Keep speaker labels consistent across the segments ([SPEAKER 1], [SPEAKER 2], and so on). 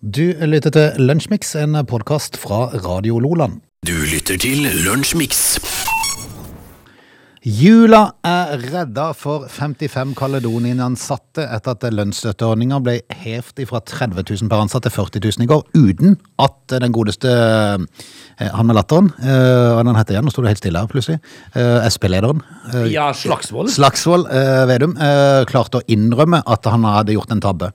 [SPEAKER 1] Du lytter til Lunsjmix, en podkast fra Radio Loland.
[SPEAKER 2] Du lytter til Lunsjmix.
[SPEAKER 1] Jula er redda for 55 Kaledonien-ansatte etter at lønnsstøtteordninga ble hevt fra 30 000 per ansatt til 40 000 i går, uten at den godeste eh, han med latteren, eh, hva den heter igjen, nå sto det helt stille her plutselig, eh, SP-lederen, eh,
[SPEAKER 3] Ja, slagsmål.
[SPEAKER 1] Slagsvold eh, Vedum, eh, klarte å innrømme at han hadde gjort en tabbe.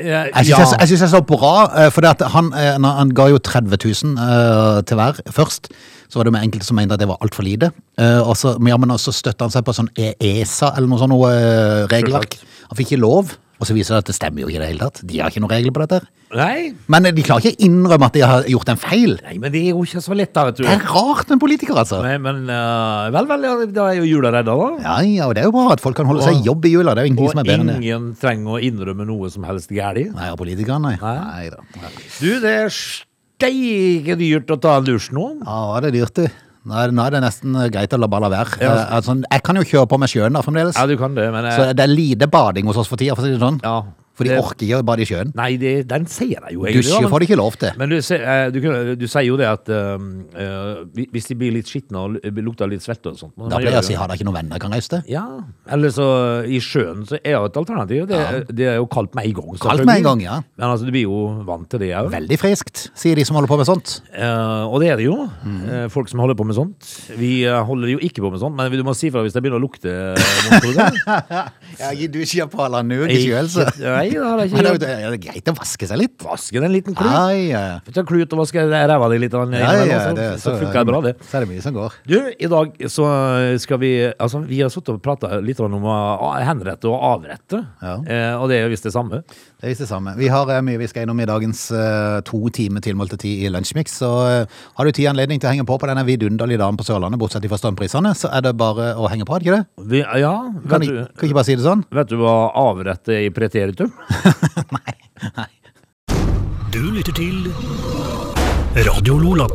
[SPEAKER 1] Jeg syns jeg, jeg synes det er så bra, eh, for det at han, eh, når han ga jo 30 000 eh, til hver først. Så var det med enkelte som mente at det var altfor lite. Eh, og så, men ja, men også støtta han seg på sånn E- ESA eller noe sånt noe, eh, regelverk. Han fikk ikke lov, og så viser det at det stemmer jo ikke i det hele tatt. De har ikke noen regler på dette. her.
[SPEAKER 3] Nei.
[SPEAKER 1] Men eh, de klarer ikke å innrømme at de har gjort en feil.
[SPEAKER 3] Nei, men det er jo ikke så lett da, vet du.
[SPEAKER 1] Det er rart med en politiker, altså.
[SPEAKER 3] Nei, men eh, vel, vel, ja, da er jo jula redda da.
[SPEAKER 1] Ja, ja, og det er jo bra at folk kan holde seg i jobb i jula. Det er jo ingenting
[SPEAKER 3] Og
[SPEAKER 1] som er bedre enn det.
[SPEAKER 3] ingen trenger å innrømme noe som helst gærlig.
[SPEAKER 1] Nei, og politikerne, nei.
[SPEAKER 3] Nei.
[SPEAKER 1] Neida.
[SPEAKER 3] Du, det er steike dyrt å ta en dusj nå.
[SPEAKER 1] Ja, det er dyrt, du. Nå er, det- nå er det nesten eh, greit å la bare la være. Eh, altså, jeg kan jo kjøre på med sjøen da, fremdeles.
[SPEAKER 3] Ja, du kan det, men eh,
[SPEAKER 1] Så det er lite bading hos oss for tida, for å si det sånn.
[SPEAKER 3] ja.
[SPEAKER 1] For de
[SPEAKER 3] det-
[SPEAKER 1] orker ikke å bade i sjøen.
[SPEAKER 3] Nei, det, den sier jeg jo egentlig. da,
[SPEAKER 1] Dusje
[SPEAKER 3] men-
[SPEAKER 1] får de ikke lov til.
[SPEAKER 3] Men du, se- eh, du, kunne- du sier jo det at eh, eh, hvis de blir litt skitne og lu- lukter litt svette og sånt. men
[SPEAKER 1] Da
[SPEAKER 3] man
[SPEAKER 1] pleier jeg å
[SPEAKER 3] gjør jo-
[SPEAKER 1] si har dere ikke noen venner jeg kan reise til?
[SPEAKER 3] Ja, eller så i sjøen så er jo et alternativ. Det, det er jo kaldt med en gang.
[SPEAKER 1] Kaldt med en
[SPEAKER 3] selvfølgelig.
[SPEAKER 1] gang, ja.
[SPEAKER 3] Men altså, du blir jo vant til det òg.
[SPEAKER 1] Veldig friskt, sier de som holder på med sånt.
[SPEAKER 3] Eh, og det er det jo.
[SPEAKER 1] Mm.
[SPEAKER 3] Eh, folk som holder på med sånt. Vi eh, holder jo ikke på med sånt, men du må si fra hvis det begynner å lukte. eh, mot hodet.
[SPEAKER 1] Jeg dusjer på alle nug
[SPEAKER 3] Ikke- Nei, det har jeg
[SPEAKER 1] altså. Men
[SPEAKER 3] ikke
[SPEAKER 1] det
[SPEAKER 3] gjort.
[SPEAKER 1] er jo greit å vaske seg litt.
[SPEAKER 3] Vaske den liten klut.
[SPEAKER 1] Ja, ja, ja.
[SPEAKER 3] Ta klut og vaske ræva di litt.
[SPEAKER 1] Ja, ja,
[SPEAKER 3] så,
[SPEAKER 1] det er
[SPEAKER 3] så sånn- funker det bra, det.
[SPEAKER 1] Så er det mye som går.
[SPEAKER 3] Du, i dag så skal vi Altså, vi har sittet og prata litt om å henrette og avrette.
[SPEAKER 1] Ja.
[SPEAKER 3] Eh, og det er jo visst det samme.
[SPEAKER 1] Det er visst det samme. Vi har eh, mye vi skal innom i dagens eh, to timer tilmålte tid i Lunsjmix. Så eh, har du tid og anledning til å henge på på denne vidunderlige dagen på Sørlandet, bortsett fra strømprisene, så er det bare å henge på, er det ikke det?
[SPEAKER 3] Vi, ja,
[SPEAKER 1] Kan,
[SPEAKER 3] vet
[SPEAKER 1] du...
[SPEAKER 3] du,
[SPEAKER 1] kan ikke bare si det sånn?
[SPEAKER 3] vet du hva avrette er i preteritum?
[SPEAKER 1] Nei. Nei.
[SPEAKER 2] Du lytter til Radio Lola.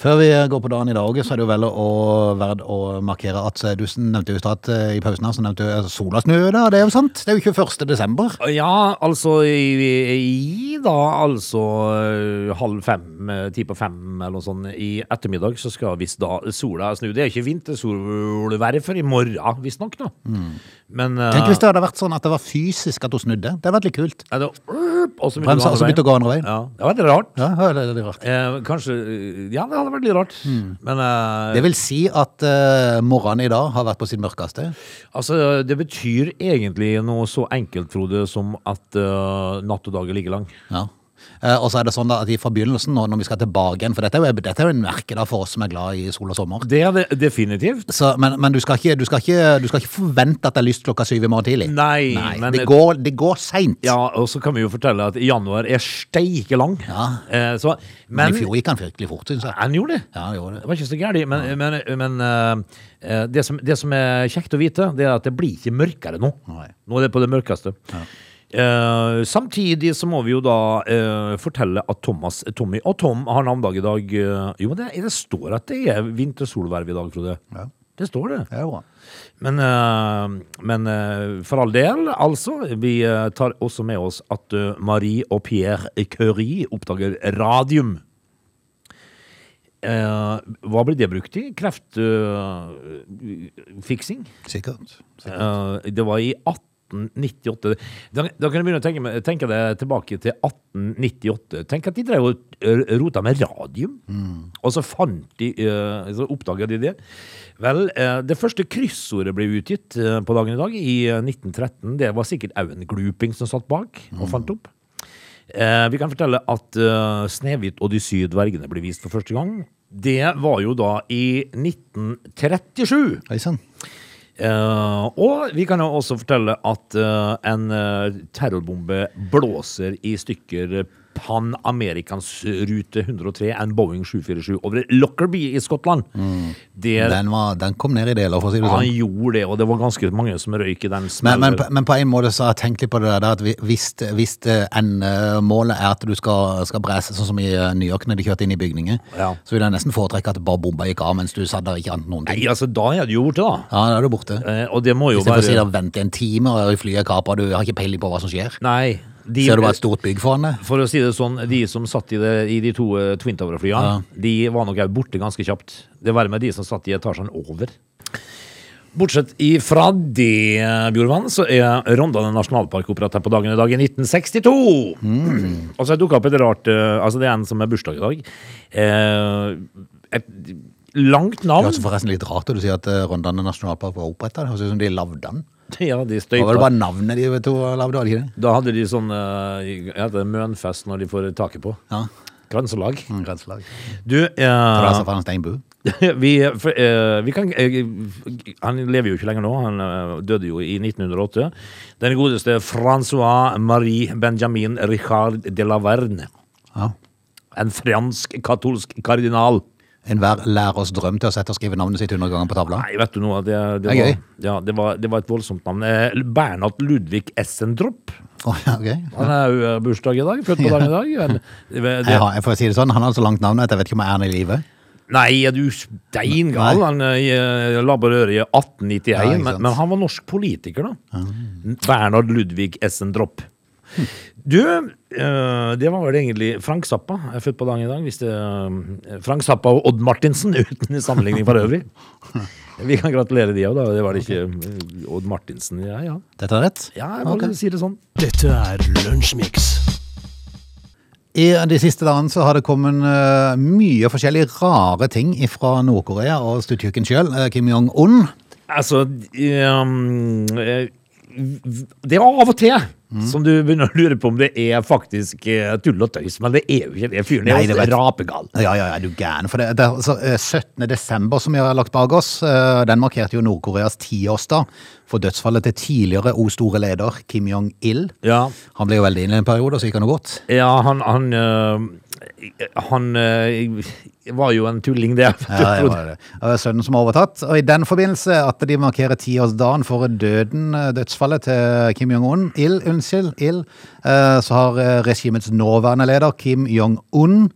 [SPEAKER 1] Før vi eh, går på dagen i dag, Åge, så er det jo vel å verdt å markere at eh, du nevnte jo i stad eh, i pausen her, så nevnte du eh, sola snø da, det er jo sant? Det er jo 21. desember.
[SPEAKER 3] Ja, altså i, i da, altså eh, halv fem, eh, ti på fem eller noe sånt i ettermiddag, så skal visst da sola snu. Det er ikke vintersolvær før i morgen, visstnok, da. Men eh,
[SPEAKER 1] Mm. Tenk hvis det hadde vært sånn at det var fysisk at hun snudde. Det hadde vært litt kult.
[SPEAKER 3] er det, og så
[SPEAKER 1] Bremsa, og så begynte å gå andre veien.
[SPEAKER 3] Ja, det var veldig rart.
[SPEAKER 1] Ja, det er litt rart.
[SPEAKER 3] Eh, kanskje eh, Ja, det hadde vært litt rart. Men eh,
[SPEAKER 1] Mm. Det vil si at eh, morgenen i dag har vært på sin mørkeste.
[SPEAKER 3] Altså, det betyr egentlig noe så enkelt, Frode, som at eh, natt og dag er like lang.
[SPEAKER 1] Ja. Eh, Og så er det sånn da at i fra begynnelsen, nå når vi skal tilbake igjen, for dette er jo, dette er jo en merke da for oss som er glad i sol og sommer.
[SPEAKER 3] Det er det definitivt.
[SPEAKER 1] Så, men men du, skal ikke, du, skal ikke, du skal ikke forvente at det er lyst klokka syv i morgen tidlig.
[SPEAKER 3] Nei, men
[SPEAKER 1] det går, det går seint.
[SPEAKER 3] Ja, og så kan vi jo fortelle at januar er steike lang.
[SPEAKER 1] Ja.
[SPEAKER 3] Eh, så,
[SPEAKER 1] men
[SPEAKER 3] men
[SPEAKER 1] i fjor gikk han virkelig fort, syns jeg.
[SPEAKER 3] han gjorde det.
[SPEAKER 1] Ja, han gjorde
[SPEAKER 3] Det
[SPEAKER 1] det.
[SPEAKER 3] var ikke så gærent. Men, men, men eh, eh, det, som, det som er kjekt å vite, det er at det blir ikke mørkere nå.
[SPEAKER 1] Nei.
[SPEAKER 3] Nå er det på det mørkeste. Eh, samtidig så må vi jo da eh, fortelle at Thomas Tommy og Tom har navndag i dag. eh, jo, men det, det står at det er vintersolverv i dag, Frode.
[SPEAKER 1] Ja.
[SPEAKER 3] Det står det.
[SPEAKER 1] Det er jo bra.
[SPEAKER 3] Men, eh, men eh, for all del, altså. Vi eh, tar også med oss at eh, Marie og Pierre Curie oppdager radium. Eh, hva blir det brukt i? Kreftfiksing?
[SPEAKER 1] Sikkert. Sikkert.
[SPEAKER 3] Eh, det var i 1898. Da, da kan du begynne å tenke, med- tenke deg tilbake til 1898. Tenk at de drev og eh, rota med radium. Og så fant de eh, Så oppdaga de det. Vel, eh, det første kryssordet ble utgitt eh, på dagen i dag, i eh, 1913. Det var sikkert Auen Gluping som satt bak og fant opp. Eh, vi kan fortelle at eh, Snehvit og de syv dvergene ble vist for første gang. Det var jo da i 1937.
[SPEAKER 1] Oi sann.
[SPEAKER 3] Eh, og vi kan jo også fortelle at eh, en eh, terrorbombe blåser i stykker Pan Americans rute 103, en Boeing 747 over Lockerbie i Skottland. Der
[SPEAKER 1] Mm. Den, var- den kom ned i deler, for å si det
[SPEAKER 3] han
[SPEAKER 1] sånn.
[SPEAKER 3] gjorde det, og det var ganske mange som røyk i
[SPEAKER 1] Men, men,
[SPEAKER 3] den smellen.
[SPEAKER 1] men på en måte så har jeg tenkt litt på det der at vi- hvis, hvis eh, endemålet er at du skal, skal brese, sånn som i eh, New York når de kjørte inn i bygninger,
[SPEAKER 3] Ja.
[SPEAKER 1] så vil jeg nesten foretrekke at bare bomba gikk av mens du satt der ikke annet noen ting.
[SPEAKER 3] Nei, altså, da er det jo borte, da.
[SPEAKER 1] Ja, da er du borte.
[SPEAKER 3] Eh, og det må jo
[SPEAKER 1] Istedenfor å si
[SPEAKER 3] være
[SPEAKER 1] da vent i en time, og flyet er kapra, du har ikke peiling på hva som skjer.
[SPEAKER 3] Nei, De-
[SPEAKER 1] Ser du bare et stort bygg foran deg?
[SPEAKER 3] For å si det sånn, de som satt i, det, i de to eh, Twin Tower-flyene, de var nok også borte ganske kjapt. Det var med de som satt i etasjen over. Bortsett ifra det, eh, Bjorvann, så er Rondane nasjonalpark opprettet på dagen i dag i 1962.
[SPEAKER 1] Mm.
[SPEAKER 3] Og så dukka opp et rart eh, Altså, det er en som er bursdag i dag. Eh, et langt
[SPEAKER 1] Det er
[SPEAKER 3] navn.
[SPEAKER 1] også forresten litt rart at du sier at eh, Rondane nasjonalpark var oppretta. Det høres ut som de lagde den.
[SPEAKER 3] Ja, de
[SPEAKER 1] Det var
[SPEAKER 3] støypa.
[SPEAKER 1] vel bare navnet de to lagde, var det ikke det?
[SPEAKER 3] Da hadde de sånn eh, heter det Mønfest når de får taket på.
[SPEAKER 1] Ja.
[SPEAKER 3] Grenselag.
[SPEAKER 1] Mm, Grenselag.
[SPEAKER 3] Du, eh,
[SPEAKER 1] Det var altså fra en Steinbu.
[SPEAKER 3] vi, for, eh, vi kan, eh, han lever jo ikke lenger nå, han eh, døde jo i 1908. Den godeste Francois Marie Benjamin Richard de la Verne,
[SPEAKER 1] Ja.
[SPEAKER 3] en fransk katolsk kardinal.
[SPEAKER 1] Enhver lærers drøm til å sette og skrive navnet sitt 100 ganger på tavla.
[SPEAKER 3] Nei, vet du noe, det, det,
[SPEAKER 1] Det er
[SPEAKER 3] var,
[SPEAKER 1] gøy.
[SPEAKER 3] ja, det, var, det var et voldsomt navn. Eh, Bernhard Ludvig Essendrop,
[SPEAKER 1] Å, ja, ok.
[SPEAKER 3] han er jo eh, bursdag i dag, født på dagen i dag. En- det-
[SPEAKER 1] Jeg, har, jeg får si det sånn, Han har så langt navn at jeg vet ikke om jeg er han i live.
[SPEAKER 3] Nei, er du steingal?
[SPEAKER 1] Nei.
[SPEAKER 3] Han eh, la på røret i 1891,
[SPEAKER 1] Ja, ikke
[SPEAKER 3] men,
[SPEAKER 1] sant.
[SPEAKER 3] men han var norsk politiker, da. Bernhard Ludvig Essendrop.
[SPEAKER 1] Hm.
[SPEAKER 3] Du, eh, det var vel egentlig Frank Zappa. Jeg er født på dagen i dag. Hvis det, eh, Frank Zappa og Odd Martinsen, uten sammenligning for øvrig. Vi kan gratulere de òg, da. Det var det ikke eh, Odd Martinsen. Ja, ja.
[SPEAKER 1] Dette er rett?
[SPEAKER 3] ja jeg må
[SPEAKER 1] Ok.
[SPEAKER 3] si det sånn.
[SPEAKER 2] Dette er Lunsjmix.
[SPEAKER 1] I eh, de siste dagene så har det kommet eh, mye forskjellige rare ting fra Nord-Korea og Stutjuken sjøl, eh, Kim Jong-un.
[SPEAKER 3] Altså ehm, eh, Det er av og til
[SPEAKER 1] Mm.
[SPEAKER 3] som du begynner å lure på om det er faktisk eh, tull og tøys, men det er jo ikke det. Fyren
[SPEAKER 1] Nei,
[SPEAKER 3] er
[SPEAKER 1] det
[SPEAKER 3] jo
[SPEAKER 1] vet-
[SPEAKER 3] rapegal.
[SPEAKER 1] Ja, ja, ja, er du gæren. For det, det, er altså, eh, 17. desember, som vi har lagt bak oss, eh, den markerte jo Nord-Koreas tiårsdag for dødsfallet til tidligere O store leder Kim Jong-il.
[SPEAKER 3] Ja,
[SPEAKER 1] Han ble jo veldig inn i en periode, og så gikk han jo bort.
[SPEAKER 3] ja han Han, eh, han eh, var jo en tulling, det.
[SPEAKER 1] Ja, det var det. Og det er Sønnen som har overtatt. Og i den forbindelse at de markerer tiårsdagen for døden, eh, dødsfallet til Kim Jong-un, ild, unnskyld, ild, eh, så har eh, regimets nåværende leder, Kim Jong-un,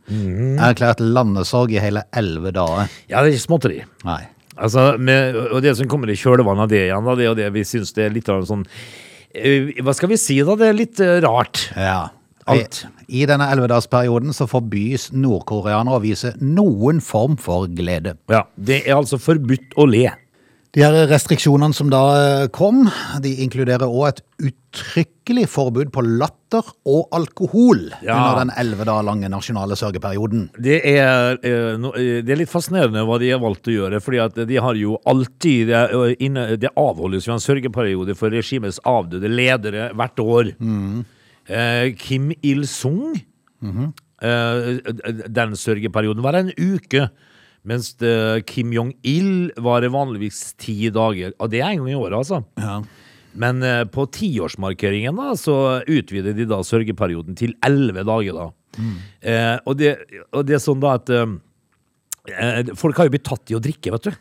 [SPEAKER 1] erklært landesorg i hele elleve dager.
[SPEAKER 3] Ja, det er ikke småtteri.
[SPEAKER 1] Nei.
[SPEAKER 3] Altså, med, og det som kommer i kjølvannet av det igjen, da, det er jo det vi syns det er litt av en sånn eh, Hva skal vi si, da? Det er litt eh, rart.
[SPEAKER 1] Ja.
[SPEAKER 3] Alt.
[SPEAKER 1] I, I denne ellevedagsperioden så forbys nordkoreanere å vise noen form for glede.
[SPEAKER 3] Ja, Det er altså forbudt å le.
[SPEAKER 1] De her restriksjonene som da eh, kom, de inkluderer også et uttrykkelig forbud på latter og alkohol
[SPEAKER 3] Ja.
[SPEAKER 1] under den elleve dager lange nasjonale sørgeperioden.
[SPEAKER 3] Det er, eh, no- eh, det er litt fascinerende hva de har valgt å gjøre, fordi at de har jo alltid Det, er, eh, inne, det avholdes jo en sørgeperiode for regimets avdøde ledere hvert år. Eh, Kim Il-sung, eh, d- den sørgeperioden var en uke. Mens det, Kim Jong-il var det vanligvis ti dager. Og det er en gang i året, altså. Men eh, på tiårsmarkeringen da, så utvider de da sørgeperioden til elleve dager. da. Eh, og, det, og det er sånn da at eh, Folk har jo blitt tatt i å drikke, vet du.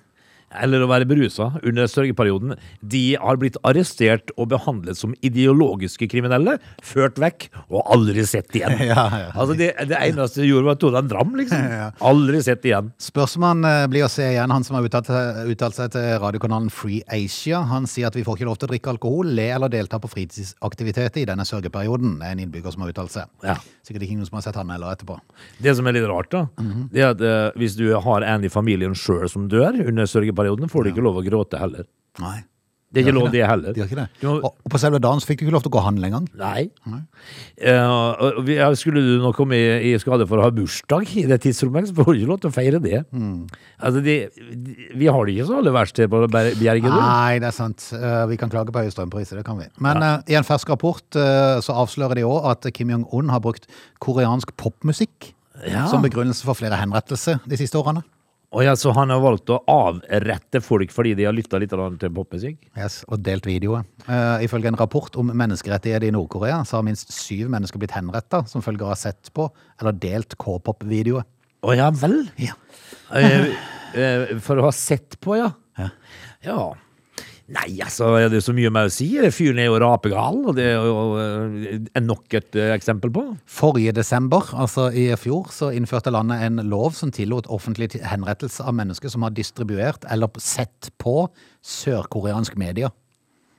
[SPEAKER 3] Eller å være berusa under sørgeperioden. De har blitt arrestert og behandlet som ideologiske kriminelle, ført vekk og aldri sett igjen.
[SPEAKER 1] Ja, ja.
[SPEAKER 3] Altså det, det eneste de gjorde, var at de tok en dram, liksom. Aldri sett igjen.
[SPEAKER 1] Spørsmålet eh, blir å se igjen han som har uttalt, uttalt seg til radiokanalen Free Asia. Han sier at vi får ikke lov til å drikke alkohol, le eller delta på fritidsaktiviteter i denne sørgeperioden. Det er en innbygger som har uttalt seg.
[SPEAKER 3] Ja.
[SPEAKER 1] Sikkert ikke noen som har sett han heller etterpå.
[SPEAKER 3] Det som er litt rart, da, det er at eh, hvis du har en i familien sjøl som dør under sørgeperioden, får du ikke lov å gråte heller.
[SPEAKER 1] Nei,
[SPEAKER 3] Det er
[SPEAKER 1] De
[SPEAKER 3] ikke
[SPEAKER 1] har
[SPEAKER 3] lov,
[SPEAKER 1] ikke
[SPEAKER 3] det heller.
[SPEAKER 1] de har ikke det.
[SPEAKER 3] Du må-
[SPEAKER 1] Og, og på selve dagen så fikk du ikke lov til å gå og handle engang.
[SPEAKER 3] Nei. Eh, og- og vi- ja, skulle du nå komme i, i skade for å ha bursdag i det tidsrommet, så får du ikke lov til å feire det. Altså, de, de, vi har det ikke så aller verst her på Ber- Bjerget. du.
[SPEAKER 1] Nei, det er sant. Eh, Vi kan klage på høye strømpriser, det kan vi. Men eh, i en fersk rapport eh, så avslører de òg at Kim Jong-un har brukt koreansk popmusikk
[SPEAKER 3] Ja.
[SPEAKER 1] som begrunnelse for flere henrettelser de siste årene.
[SPEAKER 3] Og ja, så han har valgt å avrette folk fordi de har lytta litt grann til popmusikk?
[SPEAKER 1] Yes, og delt videoer. Eh, ifølge en rapport om menneskerettigheter i Nord-Korea så har minst syv mennesker blitt henretta som følge av å ha sett på eller delt k-pop-videoer.
[SPEAKER 3] Å ja vel?
[SPEAKER 1] Ja.
[SPEAKER 3] Eh, eh, for å ha sett på, ja.
[SPEAKER 1] Ja.
[SPEAKER 3] Ja. Nei, altså, er det så mye mer å si? Fyren er jo rapegal, og det er jo eh, nok et eh, eksempel på.
[SPEAKER 1] Forrige desember, altså i fjor, så innførte landet en lov som tillot offentlig ti- henrettelse av mennesker som har distribuert eller sett på sørkoreansk media.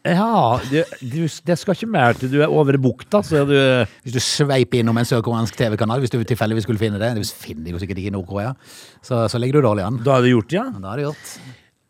[SPEAKER 3] Ja, du, du, det skal ikke mer til du er over bukta, så er du
[SPEAKER 1] Hvis du sveiper innom en sørkoreansk TV-kanal, hvis du tilfeldigvis skulle finne det Det finner de jo sikkert ikke i Nord-Korea. Så, så ligger du dårlig an.
[SPEAKER 3] Da er det gjort, ja?
[SPEAKER 1] Men Da er det gjort.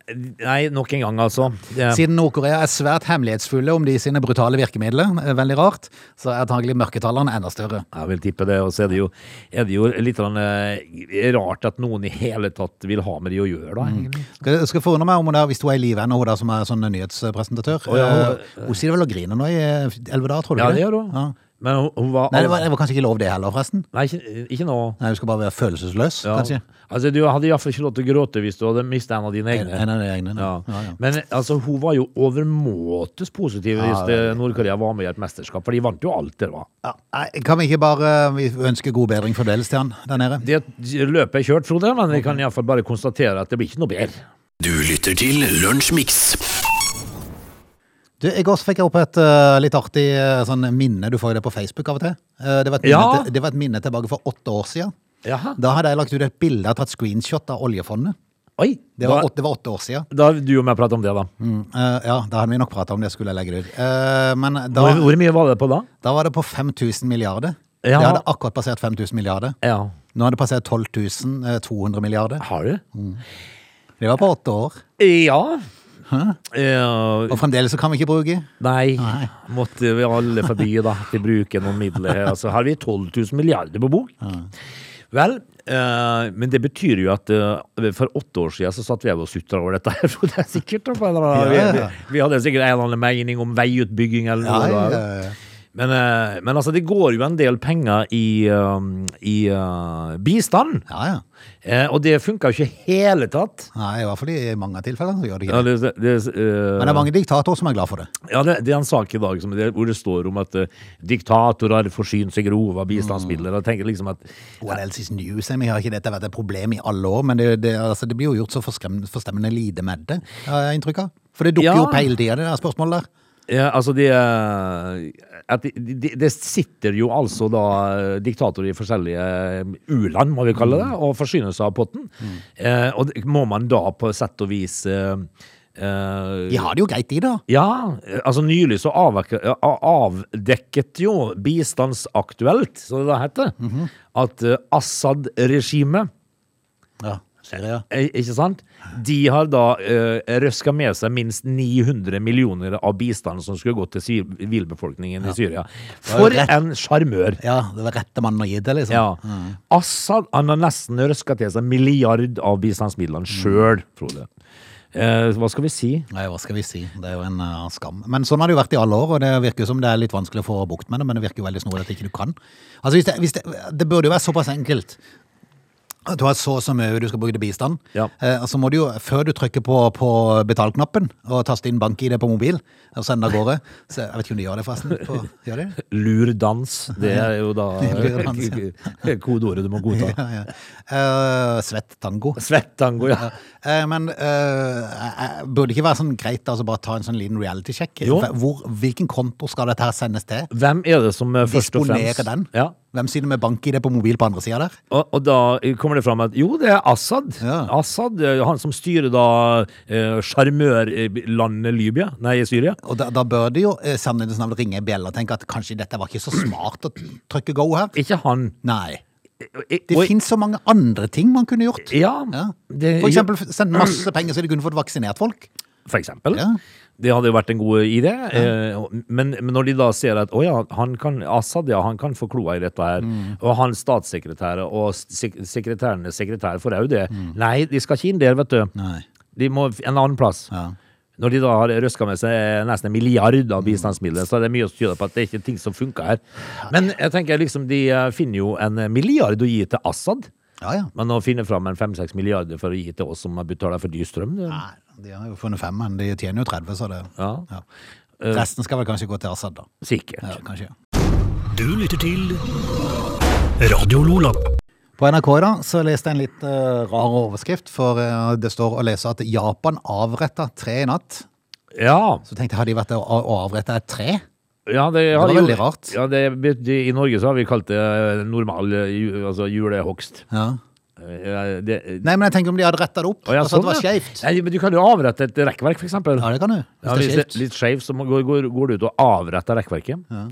[SPEAKER 3] Nei, nok en gang, altså. Det,
[SPEAKER 1] Siden Nord-Korea er svært hemmelighetsfulle om de sine brutale virkemidler, eh, veldig rart, så er antagelig mørketallene enda større.
[SPEAKER 3] jeg vil tippe det. Og så er det jo, er det jo litt sånn, eh, rart at noen i hele tatt vil ha med de å gjøre, da. egentlig.
[SPEAKER 1] Skal, skal forundre meg om hun der, hvis hun er i live ennå, hun der som er sånn nyhetspresentatør.
[SPEAKER 3] Å, ja, hun-
[SPEAKER 1] eh, hun sier vel og griner nå i eh, elleve dager, tror du
[SPEAKER 3] Ja,
[SPEAKER 1] ikke
[SPEAKER 3] det gjør hun.
[SPEAKER 1] Ja.
[SPEAKER 3] Men hun, hun var
[SPEAKER 1] Nei, det var, det var kanskje ikke lov det heller, forresten.
[SPEAKER 3] Nei, ikke, ikke nå.
[SPEAKER 1] Nei, Hun skal bare være følelsesløs,
[SPEAKER 3] Ja.
[SPEAKER 1] kanskje.
[SPEAKER 3] Altså, du hadde iallfall ikke lov til å gråte hvis du hadde mistet en av dine
[SPEAKER 1] En,
[SPEAKER 3] egne.
[SPEAKER 1] en av de egne.
[SPEAKER 3] Ja.
[SPEAKER 1] Ja, ja.
[SPEAKER 3] Men altså, hun var jo overmåtes positiv hvis
[SPEAKER 1] Ja,
[SPEAKER 3] det- Nord-Korea var med i et mesterskap, for de vant jo alt det var.
[SPEAKER 1] Ja, nei, kan vi ikke bare eh, vi ønske god bedring fremdeles til han der nede?
[SPEAKER 3] Det løpet er kjørt, Frode, men vi kan iallfall bare konstatere at det blir ikke noe bedre.
[SPEAKER 2] Du lytter til Lunsjmix.
[SPEAKER 1] Du, I går så fikk jeg opp et eh, litt artig eh, sånn minne. Du får jo det på Facebook av og til. Eh, det, var et minne
[SPEAKER 3] Ja.
[SPEAKER 1] til det var et minne tilbake for åtte år siden.
[SPEAKER 3] Jaha.
[SPEAKER 1] Da hadde jeg lagt ut et bilde og tatt screenshot av oljefondet.
[SPEAKER 3] Oi!
[SPEAKER 1] Det var, åtte, det var åtte år siden.
[SPEAKER 3] da, da har du og jeg pratet om det, da.
[SPEAKER 1] Mm, eh, ja, da hadde vi nok prata om det, skulle jeg legge det ut. Eh, men da,
[SPEAKER 3] Hvor, hvor mye var det på da?
[SPEAKER 1] da var det på 5000 milliarder.
[SPEAKER 3] Ja.
[SPEAKER 1] Det hadde akkurat passert 5000 milliarder.
[SPEAKER 3] Ja.
[SPEAKER 1] Nå har det passert 12 200 milliarder.
[SPEAKER 3] Har du?
[SPEAKER 1] Det var på åtte år.
[SPEAKER 3] Ja. Eh,
[SPEAKER 1] Og fremdeles så kan vi ikke bruke.
[SPEAKER 3] nei.
[SPEAKER 1] Nei.
[SPEAKER 3] Måtte vi alle forbi, da. Vi bruker noen midler her. Altså, har vi 12 000 milliarder på bok? Vel, eh, men det betyr jo at eh, for åtte år siden så satt vi her og sutra over dette. her, For det er sikkert da, på en eller annen,
[SPEAKER 1] Ja, ja, ja.
[SPEAKER 3] vi, vi hadde sikkert en eller annen mening om veiutbygging eller noe.
[SPEAKER 1] Ja,
[SPEAKER 3] da.
[SPEAKER 1] ja, ja.
[SPEAKER 3] Men, eh, men altså, det går jo en del penger i, um, i eh, bistand,
[SPEAKER 1] ja, ja.
[SPEAKER 3] eh, og det funka jo ikke i hele tatt.
[SPEAKER 1] Nei, i hvert fall i mange tilfeller så gjør det ikke
[SPEAKER 3] Ja,
[SPEAKER 1] det.
[SPEAKER 3] det, det, eh,
[SPEAKER 1] Men det er mange diktatorer som er glad for det.
[SPEAKER 3] ja, det, det er en sak i dag som, det, hvor det står om at eh, diktatorer forsyner seg grov av bistandsmidler. Og jeg tenker liksom at
[SPEAKER 1] What else is new? Sam? Jeg har ikke dette vært et problem i alle år, men det, det, altså, det blir jo gjort så forskrem- forstemmende lite med det, har jeg inntrykk av. For det dukker
[SPEAKER 3] Ja.
[SPEAKER 1] jo opp hele tida, det der spørsmålet der.
[SPEAKER 3] Ja, altså det eh, at de, de, Det sitter jo altså da eh, diktatorer i forskjellige eh, u-land, må vi kalle det, og forsyner seg av potten. Eh, og det- må man da på sett og vis eh, eh,
[SPEAKER 1] De har det jo greit, de, da.
[SPEAKER 3] ja, eh, altså nylig så avdekke- ja, a- avdekket jo Bistandsaktuelt, som det da heter, at eh, Assad-regimet
[SPEAKER 1] Ja, Syria.
[SPEAKER 3] Eh, Ikke sant? De har da uh, røska med seg minst 900 millioner av bistanden som skulle gå til sivilbefolkningen i Syria.
[SPEAKER 1] var jo
[SPEAKER 3] For
[SPEAKER 1] rett.
[SPEAKER 3] en sjarmør!
[SPEAKER 1] Ja, det var rette mannen å gi det, liksom.
[SPEAKER 3] Ja. Assad han har nesten røska til seg en milliard av
[SPEAKER 1] Mm.
[SPEAKER 3] bistandsmidlene sjøl, Frode. Eh, hva skal vi si?
[SPEAKER 1] Nei, hva skal vi si. Det er jo en eh, skam. Men sånn har det jo vært i alle år, og det virker jo som det er litt vanskelig å få bukt med det, men det virker jo veldig snodig at ikke du kan. Altså, hvis det, hvis det, det burde jo være såpass enkelt. At du har så og så mye du skal bruke til bistand.
[SPEAKER 3] Ja.
[SPEAKER 1] Eh, så må du jo, før du trykker på, på betalknappen og taster inn bank-ID på mobil, og sender av gårde så Jeg vet ikke om de gjør det, forresten. På, gjør de det?
[SPEAKER 3] Lurdans. Det er jo da eh,
[SPEAKER 1] Lurdans,
[SPEAKER 3] kodeordet du må godta.
[SPEAKER 1] Ja, ja. Eh, svett tango.
[SPEAKER 3] Svettango, ja.
[SPEAKER 1] Eh, men eh, eh, burde det ikke være sånn greit altså bare ta en sånn liten reality-sjekk?
[SPEAKER 3] Jo.
[SPEAKER 1] Hvor- Hvilken konto skal dette her sendes til?
[SPEAKER 3] Hvem er det som eh, først og fremst
[SPEAKER 1] Disponere den?
[SPEAKER 3] Ja.
[SPEAKER 1] Hvem sitter med bank-ID på mobil på andre sida der?
[SPEAKER 3] Og, og da kommer det fram at jo, det er Assad.
[SPEAKER 1] Ja.
[SPEAKER 3] Assad, eh, Han som styrer da eh, sjarmørlandet Libya, nei, Syria.
[SPEAKER 1] Og da, da bør det jo eh, sannhetens navn ringe i bjella og tenke at kanskje dette var ikke så smart å trykke go her.
[SPEAKER 3] Ikke han.
[SPEAKER 1] Nei.
[SPEAKER 3] Det
[SPEAKER 1] Det finnes så mange andre ting man kunne gjort.
[SPEAKER 3] Ja.
[SPEAKER 1] Ja.
[SPEAKER 3] det-
[SPEAKER 1] For eksempel sende masse penger så de kunne fått vaksinert folk.
[SPEAKER 3] For eksempel.
[SPEAKER 1] Ja.
[SPEAKER 3] Det hadde jo vært en god idé. eh, og- Men, men når de da ser at å ja, han kan, Assad ja, han kan få kloa i dette her,
[SPEAKER 1] Mm.
[SPEAKER 3] og han statssekretær og sek sekretærenes sekretær får òg det Nei, de skal ikke inn der, vet du.
[SPEAKER 1] Mm. Nei.
[SPEAKER 3] De må f- en annen plass.
[SPEAKER 1] Ja.
[SPEAKER 3] Når de da har røska med seg nesten en milliard
[SPEAKER 1] Mm.
[SPEAKER 3] av bistandsmidler, så er det mye som tyder på at det er ikke ting som funker her. Men jeg tenker liksom, de eh, finner jo en milliard å gi til Assad.
[SPEAKER 1] Ja, ja.
[SPEAKER 3] Men å finne fram en fem-seks milliarder for å gi til oss som betaler for dyr strøm det,
[SPEAKER 1] Nei, de har jo funnet fem, men de tjener jo 30, så det
[SPEAKER 3] Ja, Eh.
[SPEAKER 1] ja. Resten skal vel kanskje gå til Assad, da.
[SPEAKER 3] sikkert.
[SPEAKER 1] Ja, kanskje.
[SPEAKER 2] Du lytter til Radio Lola.
[SPEAKER 1] På NRK i dag så leste jeg en litt eh, rar overskrift, for eh, det står å lese at Japan avretta tre i natt.
[SPEAKER 3] Ja,
[SPEAKER 1] Så tenkte jeg, har de vært og og avretta et tre?
[SPEAKER 3] ja det,
[SPEAKER 1] var
[SPEAKER 3] har jo-
[SPEAKER 1] veldig rart.
[SPEAKER 3] Ja, det, bet- I Norge så har vi kalt det eh, normal eh, ju- altså julehogst.
[SPEAKER 1] Ja.
[SPEAKER 3] Eh, Eh, Det,
[SPEAKER 1] Nei, men jeg tenker om de hadde retta det opp.
[SPEAKER 3] Å, ja,
[SPEAKER 1] altså at det
[SPEAKER 3] sånn,
[SPEAKER 1] var
[SPEAKER 3] ja.
[SPEAKER 1] skeivt.
[SPEAKER 3] Nei, men du kan jo avrette et rekkverk, for eksempel.
[SPEAKER 1] Ja, det kan du. Hvis det er
[SPEAKER 3] Ja, hvis det
[SPEAKER 1] skeivt.
[SPEAKER 3] er litt skeivt, så må- går, går, går du ut og avretter rekkverket.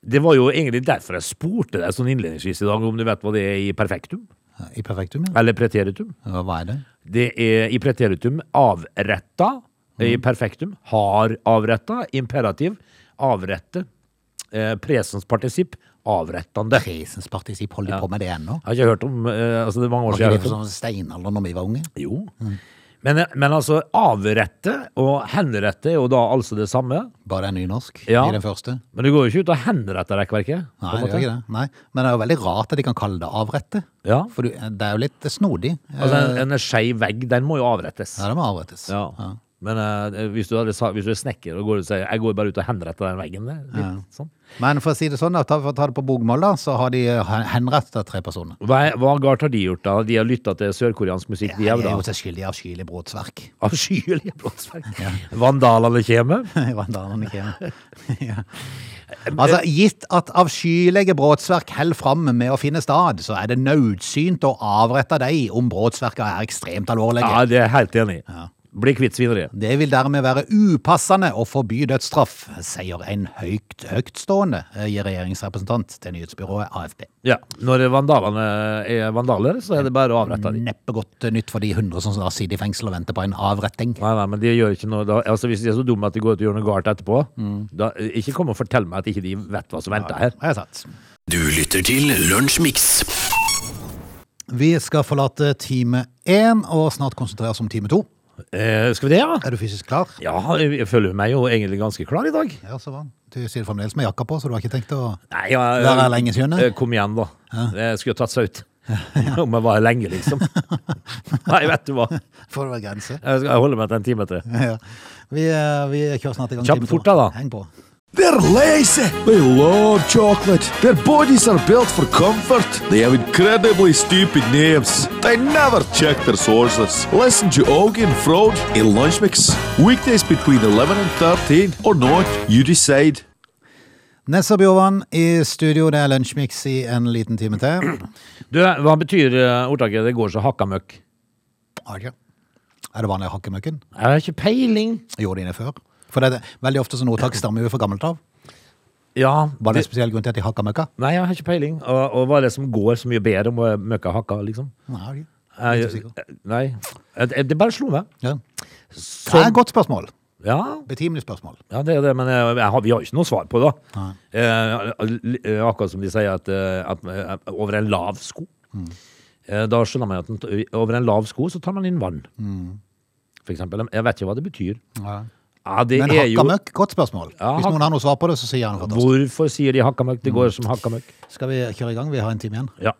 [SPEAKER 3] Det var jo egentlig derfor jeg spurte deg sånn innledningsvis i dag, om du vet hva det er i perfektum?
[SPEAKER 1] Ja, I perfektum, ja.
[SPEAKER 3] Eller preteritum?
[SPEAKER 1] ja. Hva er det?
[SPEAKER 3] Det er i preteritum avretta, i perfektum har avretta, imperativ avrette, eh, presens partisipp avrettande.
[SPEAKER 1] Presens partisip holder
[SPEAKER 3] Ja.
[SPEAKER 1] de på med det ennå?
[SPEAKER 3] Jeg har ikke hørt om eh, altså Det er mange år
[SPEAKER 1] Var
[SPEAKER 3] siden.
[SPEAKER 1] ikke det
[SPEAKER 3] jeg har hørt
[SPEAKER 1] på
[SPEAKER 3] om.
[SPEAKER 1] sånn steinalder når vi var unge?
[SPEAKER 3] Jo. Men, men altså, avrette og henrette er jo da altså det samme.
[SPEAKER 1] Bare det er nynorsk
[SPEAKER 3] Ja.
[SPEAKER 1] i den første?
[SPEAKER 3] Men du går jo ikke ut og henretter rekkverket. på
[SPEAKER 1] Nei,
[SPEAKER 3] en
[SPEAKER 1] det
[SPEAKER 3] måte.
[SPEAKER 1] gjør ikke det. Nei. Men det er jo veldig rart at de kan kalle det avrette.
[SPEAKER 3] Ja.
[SPEAKER 1] For du, det er jo litt snodig.
[SPEAKER 3] Altså,
[SPEAKER 1] Eh,
[SPEAKER 3] en, en skeiv vegg, den må jo avrettes.
[SPEAKER 1] ja, det må avrettes.
[SPEAKER 3] Ja. Men eh, hvis, du hadde, sa- hvis du er snekker og går ut og sier Jeg går bare ut og henretter den veggen der. Litt, sånn.
[SPEAKER 1] Men for å si det sånn, da, ta- for å ta det på bokmål, da, så har de eh, henrettet tre personer.
[SPEAKER 3] hva, er- hva galt har de gjort, da? De har lytta til sørkoreansk musikk,
[SPEAKER 1] De er
[SPEAKER 3] de
[SPEAKER 1] jo
[SPEAKER 3] òg, da?
[SPEAKER 1] seg skyldige i avskyelig brotsverk.
[SPEAKER 3] Avskyelige brottsverk. Vandalene kommer.
[SPEAKER 1] Det var en dame med kjeme. ja. Altså, gitt at avskyelige brotsverk holder fram med å finne stad, så er det naudsynt å avrette dem om brotsverka er ekstremt alvorlige.
[SPEAKER 3] Ja, det er jeg helt enig i. Bli kvitt svineriet.
[SPEAKER 1] Det vil dermed være upassende å forby dødsstraff, sier en høyt, høytstående eh, regjeringsrepresentant til nyhetsbyrået AFP.
[SPEAKER 3] Ja. Når vandalene er vandaler, så er det bare å avrette dem.
[SPEAKER 1] Neppe godt eh, nytt for de hundre som da sitter i fengsel og venter på en avretting.
[SPEAKER 3] Nei, nei, men de gjør ikke noe da, altså Hvis de er så dumme at de går ut og gjør noe galt etterpå, da, ikke kom og fortell meg at ikke de vet hva som venter her.
[SPEAKER 1] Har jeg sagt.
[SPEAKER 2] Du lytter til Lunsjmix.
[SPEAKER 1] Vi skal forlate time én og snart konsentrere oss om time to.
[SPEAKER 3] Eh, skal vi det, ja?
[SPEAKER 1] Er du fysisk klar?
[SPEAKER 3] Ja, jeg føler meg jo egentlig ganske klar i dag.
[SPEAKER 1] Ja, så bra. Du sier det fremdeles med jakka på, så du har ikke tenkt å
[SPEAKER 3] Nei, jeg,
[SPEAKER 1] være her lenge, skjønner
[SPEAKER 3] Eh,
[SPEAKER 1] jeg?
[SPEAKER 3] Kom igjen, da. Jeg skulle jo tatt seg ut. Om jeg var her lenge, liksom. Nei, vet du hva.
[SPEAKER 1] Får det være grense.
[SPEAKER 3] Jeg skal- jeg holder meg til en time til.
[SPEAKER 1] Ja. Vi, eh, vi kjører snart i gang.
[SPEAKER 3] Kjapt
[SPEAKER 1] time to.
[SPEAKER 3] fort da, da.
[SPEAKER 1] Heng på.
[SPEAKER 4] They're lazy. They love chocolate. Their bodies are built for comfort. They have incredibly stupid names. They never check their sources. Listen to Augie and Frode in Lunch Mix. Weekdays between 11 and 13 or not, you decide.
[SPEAKER 1] Nessa Bjorvann i studio, det er lunsjmix i en liten time til.
[SPEAKER 3] Du, hva betyr eh, ordtaket 'det går så hakka møkk'?
[SPEAKER 1] Har ikke. Er det vanlig å hakke møkken?
[SPEAKER 3] Jeg har ikke peiling.
[SPEAKER 1] Gjorde de det før? For det er veldig ofte sånn ordtak stammer jo fra gammelt av.
[SPEAKER 3] Ja,
[SPEAKER 1] Var det
[SPEAKER 3] det,
[SPEAKER 1] en spesiell grunn til at de hakka møkka?
[SPEAKER 3] nei, jeg har ikke peiling. Og, og hva er det som går så mye bedre om eh, møkka hakka, liksom?
[SPEAKER 1] Nei. de- Litt
[SPEAKER 3] Jeg, eh,
[SPEAKER 1] usikker.
[SPEAKER 3] nei. Jeg- jeg- Det bare slo meg.
[SPEAKER 1] Ja. Det er
[SPEAKER 3] Sånn.
[SPEAKER 1] et godt spørsmål.
[SPEAKER 3] Ja,
[SPEAKER 1] Betimelig spørsmål.
[SPEAKER 3] ja, det er det, men jeg, jeg har, vi har ikke noe svar på det. da. Eh, eh, akkurat som de sier at, eh, at eh, over en lav sko
[SPEAKER 1] Mm.
[SPEAKER 3] eh, Da skjønner man at en, over en lav sko så tar man inn vann.
[SPEAKER 1] Mm.
[SPEAKER 3] For eksempel. Jeg vet ikke hva det betyr. Ja, det
[SPEAKER 1] Men altså.
[SPEAKER 3] er
[SPEAKER 1] hakka
[SPEAKER 3] jo
[SPEAKER 1] møkk, godt spørsmål.
[SPEAKER 3] Ja,
[SPEAKER 1] Hvis
[SPEAKER 3] hak-
[SPEAKER 1] noen har noe svar på det, så sier han det for oss.
[SPEAKER 3] Hvorfor sier de hakka møkk? Det
[SPEAKER 1] Mm.
[SPEAKER 3] går som hakka møkk.
[SPEAKER 1] Skal vi kjøre i gang? Vi har en time igjen.
[SPEAKER 3] Ja.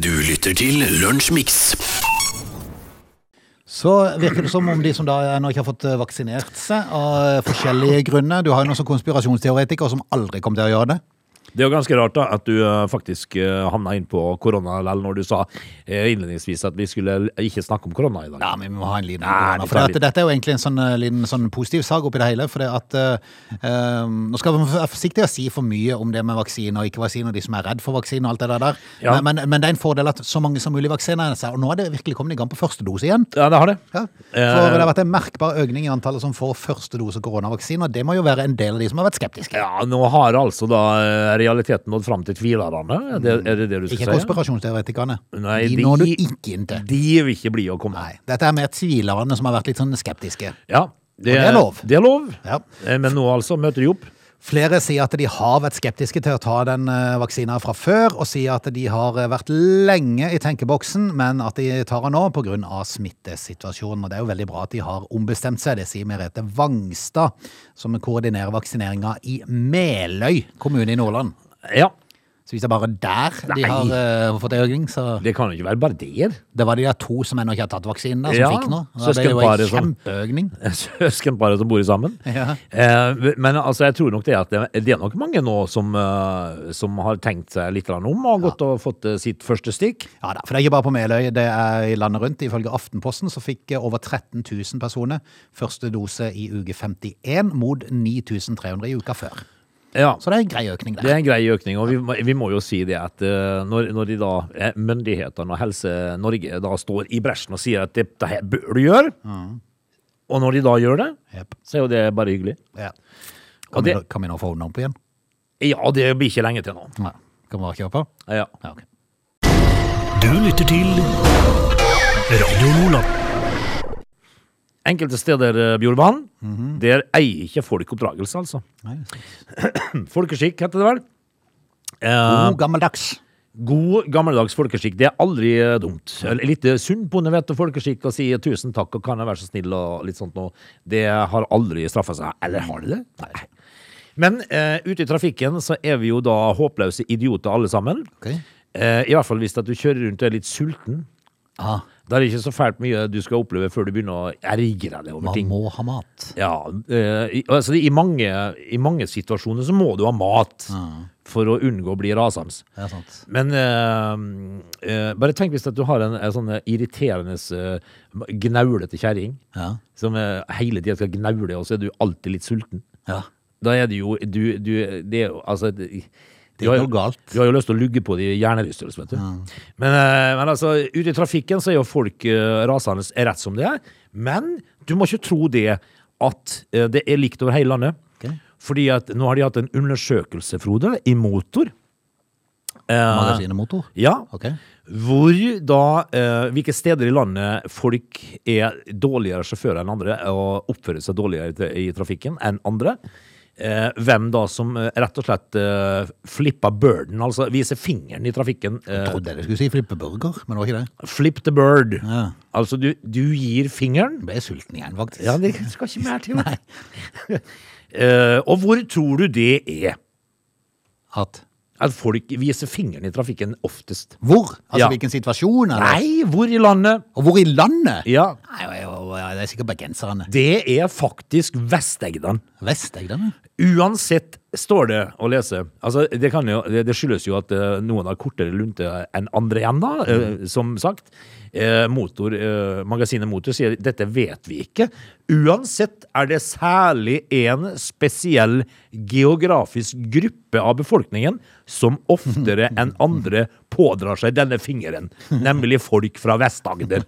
[SPEAKER 2] Du lytter til Lunsjmix.
[SPEAKER 1] Så virker det som om de som da ennå ikke har fått eh, vaksinert seg av eh, forskjellige grunner Du har jo noen sånn konspirasjonsteoretikere som aldri kom til å gjøre det.
[SPEAKER 3] Det er jo ganske rart da, at du eh, faktisk eh, havna inn på korona likevel når du sa eh, innledningsvis at vi skulle l- ikke snakke om korona i dag.
[SPEAKER 1] Ja, men vi må ha en liten
[SPEAKER 3] Nei, vi
[SPEAKER 1] For
[SPEAKER 3] tar
[SPEAKER 1] dette, dette er jo egentlig en sånn, eh, liten sånn positiv sag oppi det hele. For det at eh, eh, Nå skal vi være forsiktige og si for mye om det med vaksine og ikke vaksine, og de som er redd for vaksine og alt det der der.
[SPEAKER 3] Ja.
[SPEAKER 1] Men, men, men det er en fordel at så mange som mulig vaksinerer seg. Og nå er det virkelig kommet i gang på første dose igjen.
[SPEAKER 3] Ja, det har det.
[SPEAKER 1] Ja.
[SPEAKER 3] Eh,
[SPEAKER 1] For det har vært en merkbar økning i antallet som får første dose koronavaksine, og det må jo være en del av de som har vært skeptiske.
[SPEAKER 3] Ja, nå har altså da eh, realiteten nådd fram til tvilerne. Er det er det, det du
[SPEAKER 1] Mm. Ikke
[SPEAKER 3] skal si?
[SPEAKER 1] konspirasjonsteoretikerne.
[SPEAKER 3] Nei,
[SPEAKER 1] de
[SPEAKER 3] de-
[SPEAKER 1] når du ikke inn til.
[SPEAKER 3] De vil ikke blide å komme.
[SPEAKER 1] Nei. Dette er mer tvilerne som har vært litt sånn skeptiske.
[SPEAKER 3] Ja,
[SPEAKER 1] Og
[SPEAKER 3] det,
[SPEAKER 1] det er lov.
[SPEAKER 3] Det er lov.
[SPEAKER 1] Ja.
[SPEAKER 3] Eh, Men nå altså møter de opp.
[SPEAKER 1] Flere sier at de har vært skeptiske til å ta den eh, vaksina fra før, og sier at de har eh, vært lenge i tenkeboksen, men at de tar den nå pga. smittesituasjonen. Og det er jo veldig bra at de har ombestemt seg, det sier Merete Vangstad, som koordinerer vaksineringa i Meløy kommune i Nordland.
[SPEAKER 3] Ja,
[SPEAKER 1] Så hvis det er bare der de
[SPEAKER 3] Nei.
[SPEAKER 1] har eh, fått økning, så
[SPEAKER 3] det kan jo ikke være bare der.
[SPEAKER 1] Det var de der to som ennå ikke har tatt vaksinen, da, som
[SPEAKER 3] Ja,
[SPEAKER 1] fikk nå. Da ble det jo
[SPEAKER 3] søskenparet
[SPEAKER 1] en
[SPEAKER 3] som-
[SPEAKER 1] kjempeøkning.
[SPEAKER 3] Søskenparet som bor sammen.
[SPEAKER 1] Ja.
[SPEAKER 3] Eh, Men altså, jeg tror nok det at det det er nok mange nå som, eh, som har tenkt seg litt grann om og har gått og fått eh, sitt første stikk.
[SPEAKER 1] Ja da, for det er ikke bare på Meløy, det er i landet rundt. Ifølge Aftenposten så fikk eh, over 13 000 personer første dose i uke 51, mot 9300 i uka før.
[SPEAKER 3] Ja.
[SPEAKER 1] Så det er en grei økning
[SPEAKER 3] Det
[SPEAKER 1] der.
[SPEAKER 3] er en grei økning, og vi, må- vi må jo si det at eh, når, når de da, eh, myndighetene og Helse Norge da står i bresjen og sier at dette her bør du gjøre, og når de da gjør det,
[SPEAKER 1] Jep.
[SPEAKER 3] så er jo det bare hyggelig.
[SPEAKER 1] Ja.
[SPEAKER 3] Og
[SPEAKER 1] Kan, vi,
[SPEAKER 3] det-
[SPEAKER 1] nå- kan vi nå få den opp igjen?
[SPEAKER 3] Ja, det blir ikke lenge til nå.
[SPEAKER 1] Nei. Kan vi bare kjøre på?
[SPEAKER 3] Ja.
[SPEAKER 1] Ja, ok.
[SPEAKER 2] Du lytter til Radio Nordland.
[SPEAKER 3] Enkelte steder, eh, Bjorvann, der eier ikke folk oppdragelse, altså.
[SPEAKER 1] Nei.
[SPEAKER 3] Folkeskikk heter det vel. Eh,
[SPEAKER 1] God gammeldags.
[SPEAKER 3] God gammeldags folkeskikk, det er aldri eh, dumt. Eller Litt eh, sunn bonde vet du, folkeskikk og si eh, tusen takk og kan jeg være så snill og litt sånt noe. Det har aldri straffa seg. Eller har det det? Nei. Men eh, ute i trafikken så er vi jo da håpløse idioter alle sammen.
[SPEAKER 1] Ok.
[SPEAKER 3] Eh, I hvert fall hvis at du kjører rundt og er litt sulten.
[SPEAKER 1] Ah,
[SPEAKER 3] Da er det ikke så fælt mye du skal oppleve før du begynner å ergre deg over
[SPEAKER 1] man
[SPEAKER 3] ting.
[SPEAKER 1] må ha mat.
[SPEAKER 3] Ja, eh, i, altså i mange, i mange situasjoner så må du ha mat for å unngå å bli rasende.
[SPEAKER 1] Det er sant.
[SPEAKER 3] Men eh, eh, bare tenk hvis at du har en, en sånn irriterende uh, gnaulete kjerring
[SPEAKER 1] Ja.
[SPEAKER 3] som eh, hele tida skal gnaule, og så er du alltid litt sulten.
[SPEAKER 1] Ja.
[SPEAKER 3] Da er det jo du, du Det er jo altså Det
[SPEAKER 1] Det er ikke noe galt.
[SPEAKER 3] Du har jo lyst til å lugge på de hjernerystelse, vet du. Men, eh, men altså, ute i trafikken så er jo folk eh, rasende rett som det er. Men du må ikke tro det at eh, det er likt over hele landet.
[SPEAKER 1] Ok.
[SPEAKER 3] Fordi at nå har de hatt en undersøkelse, Frode, i motor. Eh,
[SPEAKER 1] Magasinemotor.
[SPEAKER 3] ja.
[SPEAKER 1] Ok.
[SPEAKER 3] Hvor da eh, Hvilke steder i landet folk er dårligere sjåfører enn andre og oppfører seg dårligere i tra- i trafikken enn andre. Eh, hvem da som eh, rett og slett eh, flipper birden, altså viser fingeren i trafikken. Eh,
[SPEAKER 1] Trodde jeg du skulle si flippe burger, men det var ikke det.
[SPEAKER 3] flip the bird.
[SPEAKER 1] Ja.
[SPEAKER 3] Altså du, du gir fingeren.
[SPEAKER 1] Jeg ble sulten igjen, faktisk.
[SPEAKER 3] Ja, det skal ikke mer til. eh, og hvor tror du det er?
[SPEAKER 1] At
[SPEAKER 3] At folk viser fingeren i trafikken oftest?
[SPEAKER 1] Hvor? Altså
[SPEAKER 3] Ja.
[SPEAKER 1] hvilken situasjon? Eller?
[SPEAKER 3] Nei, hvor i landet?
[SPEAKER 1] Og hvor i landet?
[SPEAKER 3] Ja,
[SPEAKER 1] Nei, jo, jo, jo, det er sikkert bergenserne.
[SPEAKER 3] Det er faktisk Vestegdan.
[SPEAKER 1] Vestegdene?
[SPEAKER 3] Uansett står det å lese. Altså, det, kan jo, det, det skyldes jo at eh, noen har kortere lunte enn andre igjen, da, eh, som sagt. Eh, motor, eh, magasinet Motor sier dette vet vi ikke. Uansett er det særlig en spesiell geografisk gruppe av befolkningen som oftere enn andre pådrar seg denne fingeren, nemlig folk fra Vest-Agder.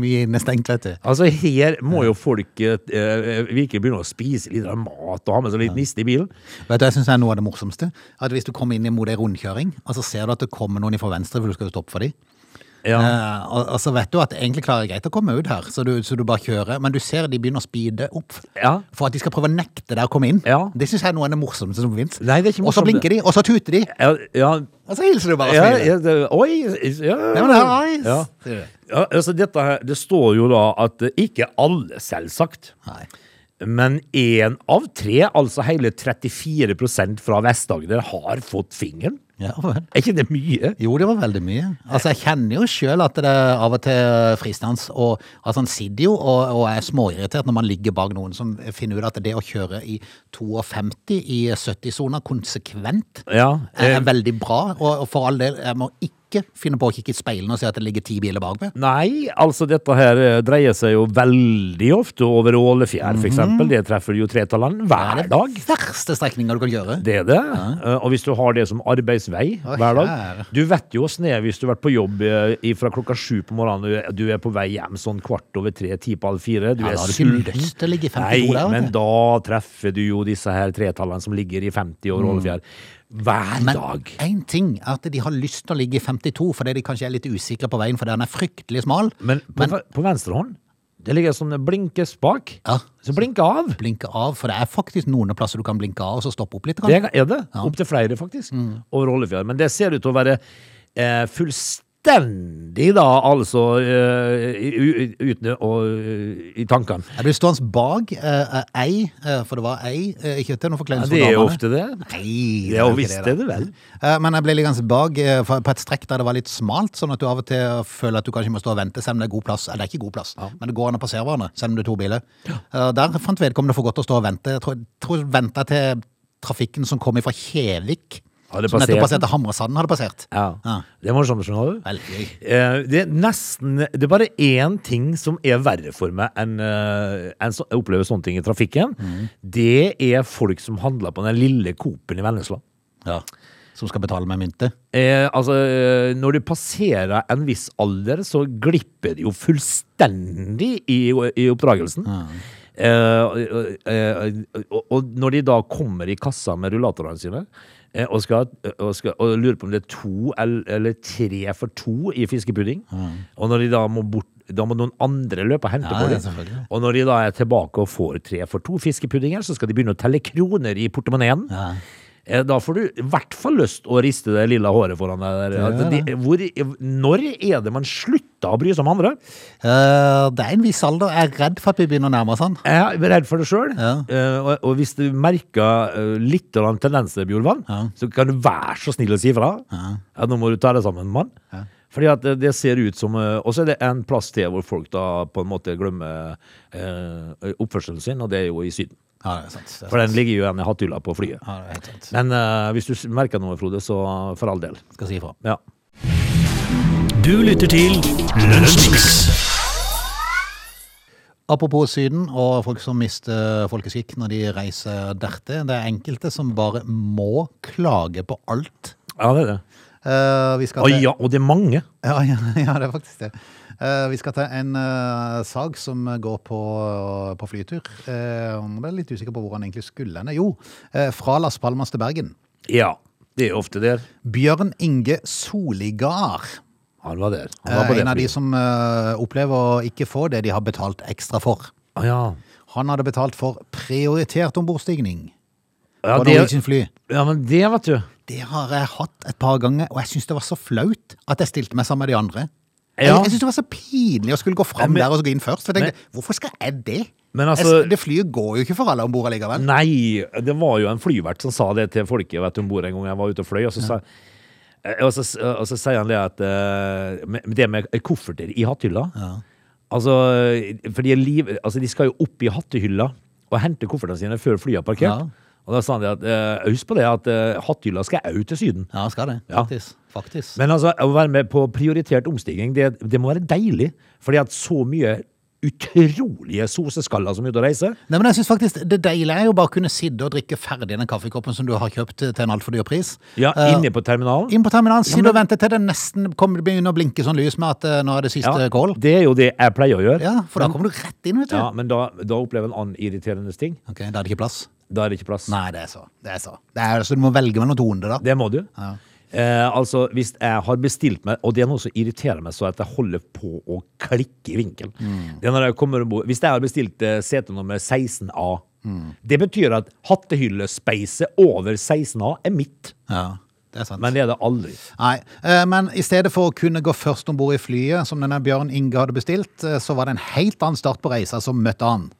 [SPEAKER 1] Mye inne stengt, vet du.
[SPEAKER 3] Altså Her må jo folk eh, eh, virkelig begynne å spise litt av mat og ha med seg litt niste i bilen.
[SPEAKER 1] Vet du, jeg synes det er noe av det morsomste. At hvis du kommer inn imot ei rundkjøring, og så ser du at det kommer noen fra venstre, for du skal jo stoppe for dem.
[SPEAKER 3] Ja.
[SPEAKER 1] Eh, og, og så vet du at egentlig klarer jeg greit å komme ut her, så du, så du bare kjører. Men du ser de begynner å speede opp
[SPEAKER 3] Ja.
[SPEAKER 1] for at de skal prøve å nekte deg å komme inn.
[SPEAKER 3] Ja.
[SPEAKER 1] Det syns jeg er noe av det morsomste som fins.
[SPEAKER 3] Nei, det er ikke
[SPEAKER 1] Og så
[SPEAKER 3] morsomt,
[SPEAKER 1] blinker de, og så tuter de,
[SPEAKER 3] Ja, ja,
[SPEAKER 1] og så hilser du bare og
[SPEAKER 3] ja,
[SPEAKER 1] smiler.
[SPEAKER 3] ja, det, Oi! Ja,
[SPEAKER 1] Ja, men det er nice.
[SPEAKER 3] ja.
[SPEAKER 1] Sier du.
[SPEAKER 3] Ja, altså dette her, Det står jo da at eh, ikke alle, selvsagt,
[SPEAKER 1] Nei.
[SPEAKER 3] men én av tre, altså hele 34 fra Vest-Agder, har fått fingeren.
[SPEAKER 1] Ja, vel.
[SPEAKER 3] Er ikke det mye?
[SPEAKER 1] Jo, det var veldig mye. Altså, Jeg kjenner jo sjøl at det av og til fristans og altså, Han sitter jo og, og er småirritert når man ligger bak noen som finner ut at det å kjøre i 52 i 70-sona konsekvent
[SPEAKER 3] Ja,
[SPEAKER 1] er,
[SPEAKER 3] eh,
[SPEAKER 1] veldig bra. Og, og for all del, jeg må ikke finne på å kikke i speilene og se at det ligger ti biler bak meg.
[SPEAKER 3] Nei, altså dette her eh, dreier seg jo veldig ofte over Ålefjær,
[SPEAKER 1] Mhm.
[SPEAKER 3] for eksempel. Det treffer jo tretalland hver dag.
[SPEAKER 1] Verste strekninga du kan gjøre.
[SPEAKER 3] Det er det. Eh, Og hvis du har det som arbeidsvei
[SPEAKER 1] Å,
[SPEAKER 3] hver dag
[SPEAKER 1] kjære.
[SPEAKER 3] Du vet jo åssen det er hvis du har vært på jobb eh, fra klokka sju på morgenen og du er på vei hjem sånn kvart over tre, ti på halv fire. Du
[SPEAKER 1] Ja,
[SPEAKER 3] er
[SPEAKER 1] da har du ikke
[SPEAKER 3] sulten.
[SPEAKER 1] lyst til å ligge i 52
[SPEAKER 3] Nei,
[SPEAKER 1] der, vet
[SPEAKER 3] men
[SPEAKER 1] du.
[SPEAKER 3] da treffer du jo disse her tretallene som ligger i 50 og Ålefjær. Hver
[SPEAKER 1] Mm. Men
[SPEAKER 3] dag.
[SPEAKER 1] én ting er at de har lyst til å ligge i 52 fordi de kanskje er litt usikre på veien, for den er fryktelig smal.
[SPEAKER 3] Men på,
[SPEAKER 1] Men-
[SPEAKER 3] ve- på venstre hånd det ligger en sånn blinkespak.
[SPEAKER 1] Ja.
[SPEAKER 3] Så blink av.
[SPEAKER 1] blinke av, for det er faktisk noen plasser du kan blinke av og så stoppe opp litt.
[SPEAKER 3] Det
[SPEAKER 1] grann.
[SPEAKER 3] er det. Opptil flere, faktisk.
[SPEAKER 1] Mm.
[SPEAKER 3] Over Ålefjær. Men det ser ut til å være eh, fullstendig, da, altså eh, u- u- Uten å eh, I tankene.
[SPEAKER 1] Jeg blir stående bak eh, ei, eh, for det var ei eh, ikke til noe
[SPEAKER 3] Ja,
[SPEAKER 1] forkleinelse
[SPEAKER 3] det er jo
[SPEAKER 1] for damene.
[SPEAKER 3] ofte det.
[SPEAKER 1] Nei,
[SPEAKER 3] Ja,
[SPEAKER 1] jo ikke
[SPEAKER 3] visst er det vel.
[SPEAKER 1] Eh, Men jeg ble liggende bak eh, for- på et strekk der det var litt smalt, sånn at du av og til føler at du kanskje må stå og vente, selv om det er god plass. Eller det er ikke god plass, men det går an å passere hverandre, selv om det er to biler. Eh, Der fant vedkommende for godt å stå og vente. Jeg tror, tror venta til trafikken som kom fra Kjevik.
[SPEAKER 3] Hadde
[SPEAKER 1] Som nettopp
[SPEAKER 3] passert.
[SPEAKER 1] passerte Hamresanden hadde passert.
[SPEAKER 3] Ja.
[SPEAKER 1] Ja.
[SPEAKER 3] Det er morsomt, skjønner du.
[SPEAKER 1] Veldig gøy.
[SPEAKER 3] Eh, Det er nesten Det er bare én ting som er verre for meg enn eh, enn så, jeg opplever sånne ting i trafikken.
[SPEAKER 1] Mm.
[SPEAKER 3] Det er folk som handler på den lille Coop-en i Vennesla.
[SPEAKER 1] Ja. Som skal betale med mynte.
[SPEAKER 3] Eh, altså, eh, når du passerer en viss alder, så glipper det jo fullstendig i, i oppdragelsen. Eh, eh, eh, og, og når de da kommer i kassa med rullatorene sine eh, og, skal, og, skal, og lurer på om det er to eller, eller tre for to i fiskepudding, og når de da må bort da må noen andre løpe og hente
[SPEAKER 1] Ja,
[SPEAKER 3] på
[SPEAKER 1] ja,
[SPEAKER 3] dem.
[SPEAKER 1] selvfølgelig.
[SPEAKER 3] Og når de da er tilbake og får tre for to fiskepuddinger, så skal de begynne å telle kroner i portemoneen. Eh, Da får du i hvert fall lyst å riste det lilla håret foran deg. Der.
[SPEAKER 1] gjør
[SPEAKER 3] At de- hvor, når er det man slutter å bry seg om andre?
[SPEAKER 1] Eh, det er en viss alder. Jeg er redd for at vi begynner å nærme oss han.
[SPEAKER 3] Jeg er redd for det sjøl.
[SPEAKER 1] Ja.
[SPEAKER 3] Og, og hvis du merker eh, litt grann tendenser, Bjorvann, så kan du være så snill å si ifra. Ja, nå må du ta deg sammen, mann. Fordi at det- det ser ut som eh, Og så er det en plass til hvor folk da på en måte glemmer eh, oppførselen sin, og det er jo i Syden.
[SPEAKER 1] Ja, det er sant. Det er
[SPEAKER 3] For
[SPEAKER 1] sant.
[SPEAKER 3] den ligger jo igjen i hatthylla på flyet.
[SPEAKER 1] Ja, det er helt sant.
[SPEAKER 3] Men eh, hvis du s- merker noe, Frode, så for all del.
[SPEAKER 1] Skal si ifra.
[SPEAKER 3] Ja.
[SPEAKER 2] Du lytter til Lunsjmix.
[SPEAKER 1] Apropos Syden og folk som mister folkeskikk når de reiser dertil. Det er enkelte som bare må klage på alt.
[SPEAKER 3] ja, det er det.
[SPEAKER 1] Eh, vi skal
[SPEAKER 3] Og,
[SPEAKER 1] til-
[SPEAKER 3] ja, og det er mange.
[SPEAKER 1] Ja, ja, ja, det er faktisk det. Eh, vi skal ta en eh, sag som går på, på flytur. Eh, Jeg ble litt usikker på hvor han egentlig skulle henne. Jo, eh, fra Las Palmas til Bergen.
[SPEAKER 3] Ja, det er ofte der.
[SPEAKER 1] Bjørn Inge Soligard.
[SPEAKER 3] Han var der. Han var
[SPEAKER 1] eh,
[SPEAKER 3] på det
[SPEAKER 1] En av de
[SPEAKER 3] flyet.
[SPEAKER 1] som eh, opplever å ikke få det de har betalt ekstra for.
[SPEAKER 3] Ah, ja.
[SPEAKER 1] Han hadde betalt for prioritert ombordstigning
[SPEAKER 3] Ja,
[SPEAKER 1] på
[SPEAKER 3] det,
[SPEAKER 1] Norwegian fly.
[SPEAKER 3] ja, men det, vet du.
[SPEAKER 1] Det har jeg hatt et par ganger, og jeg syns det var så flaut at jeg stilte meg sammen med de andre.
[SPEAKER 3] Ja.
[SPEAKER 1] Jeg, jeg synes det var så pinlig å skulle gå fram
[SPEAKER 3] Men-
[SPEAKER 1] der og så gå inn først. For jeg tenkte, hvorfor skal jeg det?
[SPEAKER 3] Men altså-
[SPEAKER 1] jeg, det flyet går jo ikke for alle om bord allikevel.
[SPEAKER 3] Nei, det var jo en flyvert som sa det til folket vet du, om bord en gang jeg var ute og fløy. Og så, sa, eh, og så, og så sier han det at eh, med- Det med kofferter i hatthylla altså, For de, er liv, altså, de skal jo opp i hattehylla og hente koffertene sine før flyet er parkert.
[SPEAKER 1] Ja.
[SPEAKER 3] Og da sa han det at eh, Husk på det at eh, hatthylla skal òg til Syden.
[SPEAKER 1] Ja, skal det.
[SPEAKER 3] Ja.
[SPEAKER 1] Faktisk. Faktisk.
[SPEAKER 3] Men altså, å være med på prioritert omstigning, det, det må være deilig. Fordi at så mye utrolige soseskaller som er ute og reiser
[SPEAKER 1] Nei, men jeg synes faktisk Det deilige er jo bare å kunne sitte og drikke ferdig den kaffekoppen som du har kjøpt til en altfor dyr pris.
[SPEAKER 3] ja,
[SPEAKER 1] Eh,
[SPEAKER 3] inne på terminalen.
[SPEAKER 1] inn på terminalen, sitte og vente til det nesten kommer, begynner å blinke sånn lys med at eh, nå er det siste
[SPEAKER 3] Ja,
[SPEAKER 1] kål.
[SPEAKER 3] det er jo det jeg pleier å gjøre.
[SPEAKER 1] Ja, for da kommer du rett inn, vet du.
[SPEAKER 3] Ja, men da, da opplever jeg en annen irriterende ting.
[SPEAKER 1] Ok, Da er det ikke plass.
[SPEAKER 3] Da er det ikke plass.
[SPEAKER 1] Nei, det er så. Det er så. Det er, så du må velge mellom to onde, da.
[SPEAKER 3] Det må du.
[SPEAKER 1] Ja.
[SPEAKER 3] Eh, altså, hvis jeg har bestilt meg, og det er noe som irriterer meg så at jeg holder på å klikke i vinkel
[SPEAKER 1] Mm.
[SPEAKER 3] Det er når jeg kommer ombord. Hvis jeg har bestilt eh, sete nummer 16A,
[SPEAKER 1] Mm.
[SPEAKER 3] det betyr at hattehyllespeiset over 16A er mitt.
[SPEAKER 1] Ja, det er sant.
[SPEAKER 3] Men det er det aldri.
[SPEAKER 1] Nei, eh, men i stedet for å kunne gå først om bord i flyet, som denne Bjørn Inge hadde bestilt, eh, så var det en helt annen start på reisa som møtte han.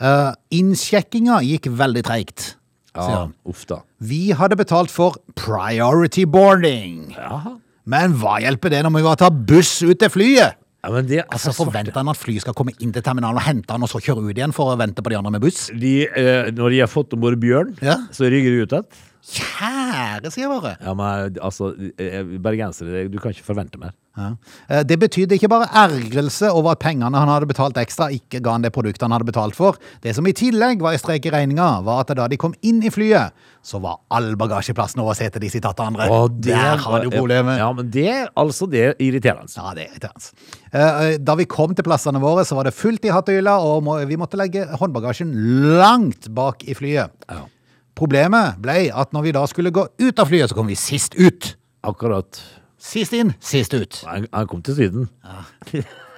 [SPEAKER 1] Eh, Innsjekkinga gikk veldig treigt, sier han.
[SPEAKER 3] Uff da.
[SPEAKER 1] Vi hadde betalt for priority boarding.
[SPEAKER 3] Jaha.
[SPEAKER 1] Men hva hjelper det når vi må ta buss ut til flyet?
[SPEAKER 3] Ja, men det, altså,
[SPEAKER 1] Altså, Forventer han at flyet skal komme inn til terminalen og hente han, og så kjøre ut igjen for å vente på de andre med buss?
[SPEAKER 3] de, eh, når de har fått ombord bjørn,
[SPEAKER 1] Ja.
[SPEAKER 3] så rygger de ut igjen.
[SPEAKER 1] Kjære, sier jeg bare.
[SPEAKER 3] Ja, men altså, eh, bergensere, du kan ikke forvente mer.
[SPEAKER 1] Ja. Eh, Det betydde ikke bare ergrelse over at pengene han hadde betalt ekstra, ikke ga han det produktet han hadde betalt for. Det som i tillegg var i strek i regninga, var at da de kom inn i flyet, så var all bagasjeplassen over setet de sitt tatt til andre. Der har du problemet.
[SPEAKER 3] Ja, men det, altså, det er irriterende.
[SPEAKER 1] Ja, det er irriterende. Eh, eh, Da vi kom til plassene våre, så var det fullt i hattehylla, og må- vi måtte legge håndbagasjen langt bak i flyet.
[SPEAKER 3] Ja.
[SPEAKER 1] Problemet ble at når vi da skulle gå ut av flyet, så kom vi sist ut.
[SPEAKER 3] Akkurat.
[SPEAKER 1] Sist inn, sist ut.
[SPEAKER 3] Han, han kom til Syden.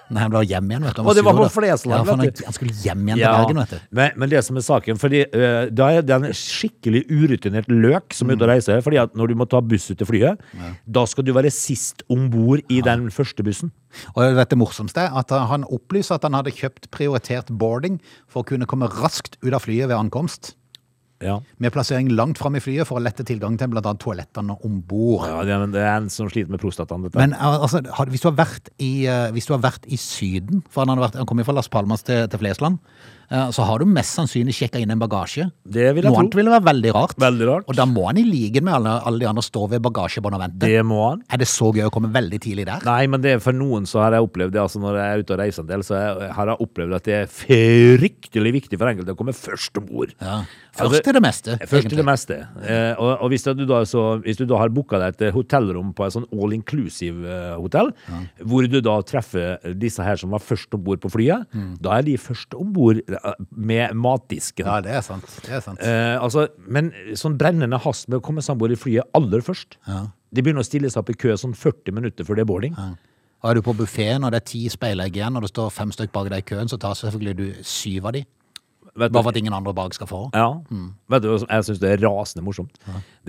[SPEAKER 1] Nei, han ble hjem igjen, vet du. Han
[SPEAKER 3] Å, det var
[SPEAKER 1] sur,
[SPEAKER 3] på
[SPEAKER 1] da.
[SPEAKER 3] Flesland,
[SPEAKER 1] ja, for
[SPEAKER 3] vet
[SPEAKER 1] han,
[SPEAKER 3] du.
[SPEAKER 1] han skulle hjem igjen
[SPEAKER 3] Ja,
[SPEAKER 1] til Bergen, vet du.
[SPEAKER 3] men, men det som er saken Fordi eh, da er det en skikkelig urutinert løk Som
[SPEAKER 1] Mm.
[SPEAKER 3] er ute og reiser Fordi at når du må ta buss ut til flyet Da skal du være sist ombord i den første bussen
[SPEAKER 1] Og vet det morsomste er at eh, han opplyser at han hadde kjøpt prioritert boarding for å kunne komme raskt ut av flyet ved ankomst.
[SPEAKER 3] Ja,
[SPEAKER 1] Med plassering langt fram i flyet for å lette tilgang til bl.a. toalettene om bord.
[SPEAKER 3] ja det, er, det er en som sliter med prostatan dette.
[SPEAKER 1] Men eh, altså, har- hvis, du har vært i, eh, hvis du har vært i Syden For han, hadde vært, han kom jo fra Las Palmas til, til Flesland. eh, så har du mest sannsynlig sjekka inn en bagasje.
[SPEAKER 3] Det vil jeg
[SPEAKER 1] Noe
[SPEAKER 3] tro.
[SPEAKER 1] annet ville vært veldig rart.
[SPEAKER 3] Veldig rart.
[SPEAKER 1] Og da må han i ligen med alle, alle de andre stå ved bagasjebåndet og vente.
[SPEAKER 3] Det må han.
[SPEAKER 1] Er det så gøy å komme veldig tidlig der?
[SPEAKER 3] Nei, men det er for noen så har jeg opplevd det, altså når jeg er ute og reiser en del, så jeg- har jeg opplevd at det er fryktelig viktig for enkelte å komme først om bord.
[SPEAKER 1] Ja. Først til det meste.
[SPEAKER 3] Først til
[SPEAKER 1] egentlig.
[SPEAKER 3] det meste. Eh, og, og hvis, du da, så, hvis du da har booka deg et eh, hotellrom på et sånn all inclusive-hotell, hvor du da treffer disse her som var først om bord på flyet, da er de først om bord eh, med matdisken.
[SPEAKER 1] Ja, det er sant. Det er sant.
[SPEAKER 3] Eh, altså, men sånn brennende hast med å komme seg om bord i flyet aller først. De begynner å stille seg opp i kø sånn 40 minutter før det er boarding.
[SPEAKER 1] Og er du på buffeen, og det er ti speilegg igjen, og det står fem stykk bak deg i køen, så tar selvfølgelig du syv av de.
[SPEAKER 3] Vet du-
[SPEAKER 1] Bare for at Mm. ingen andre bak skal få.
[SPEAKER 3] Ja. Vet du, jeg syns det er rasende morsomt.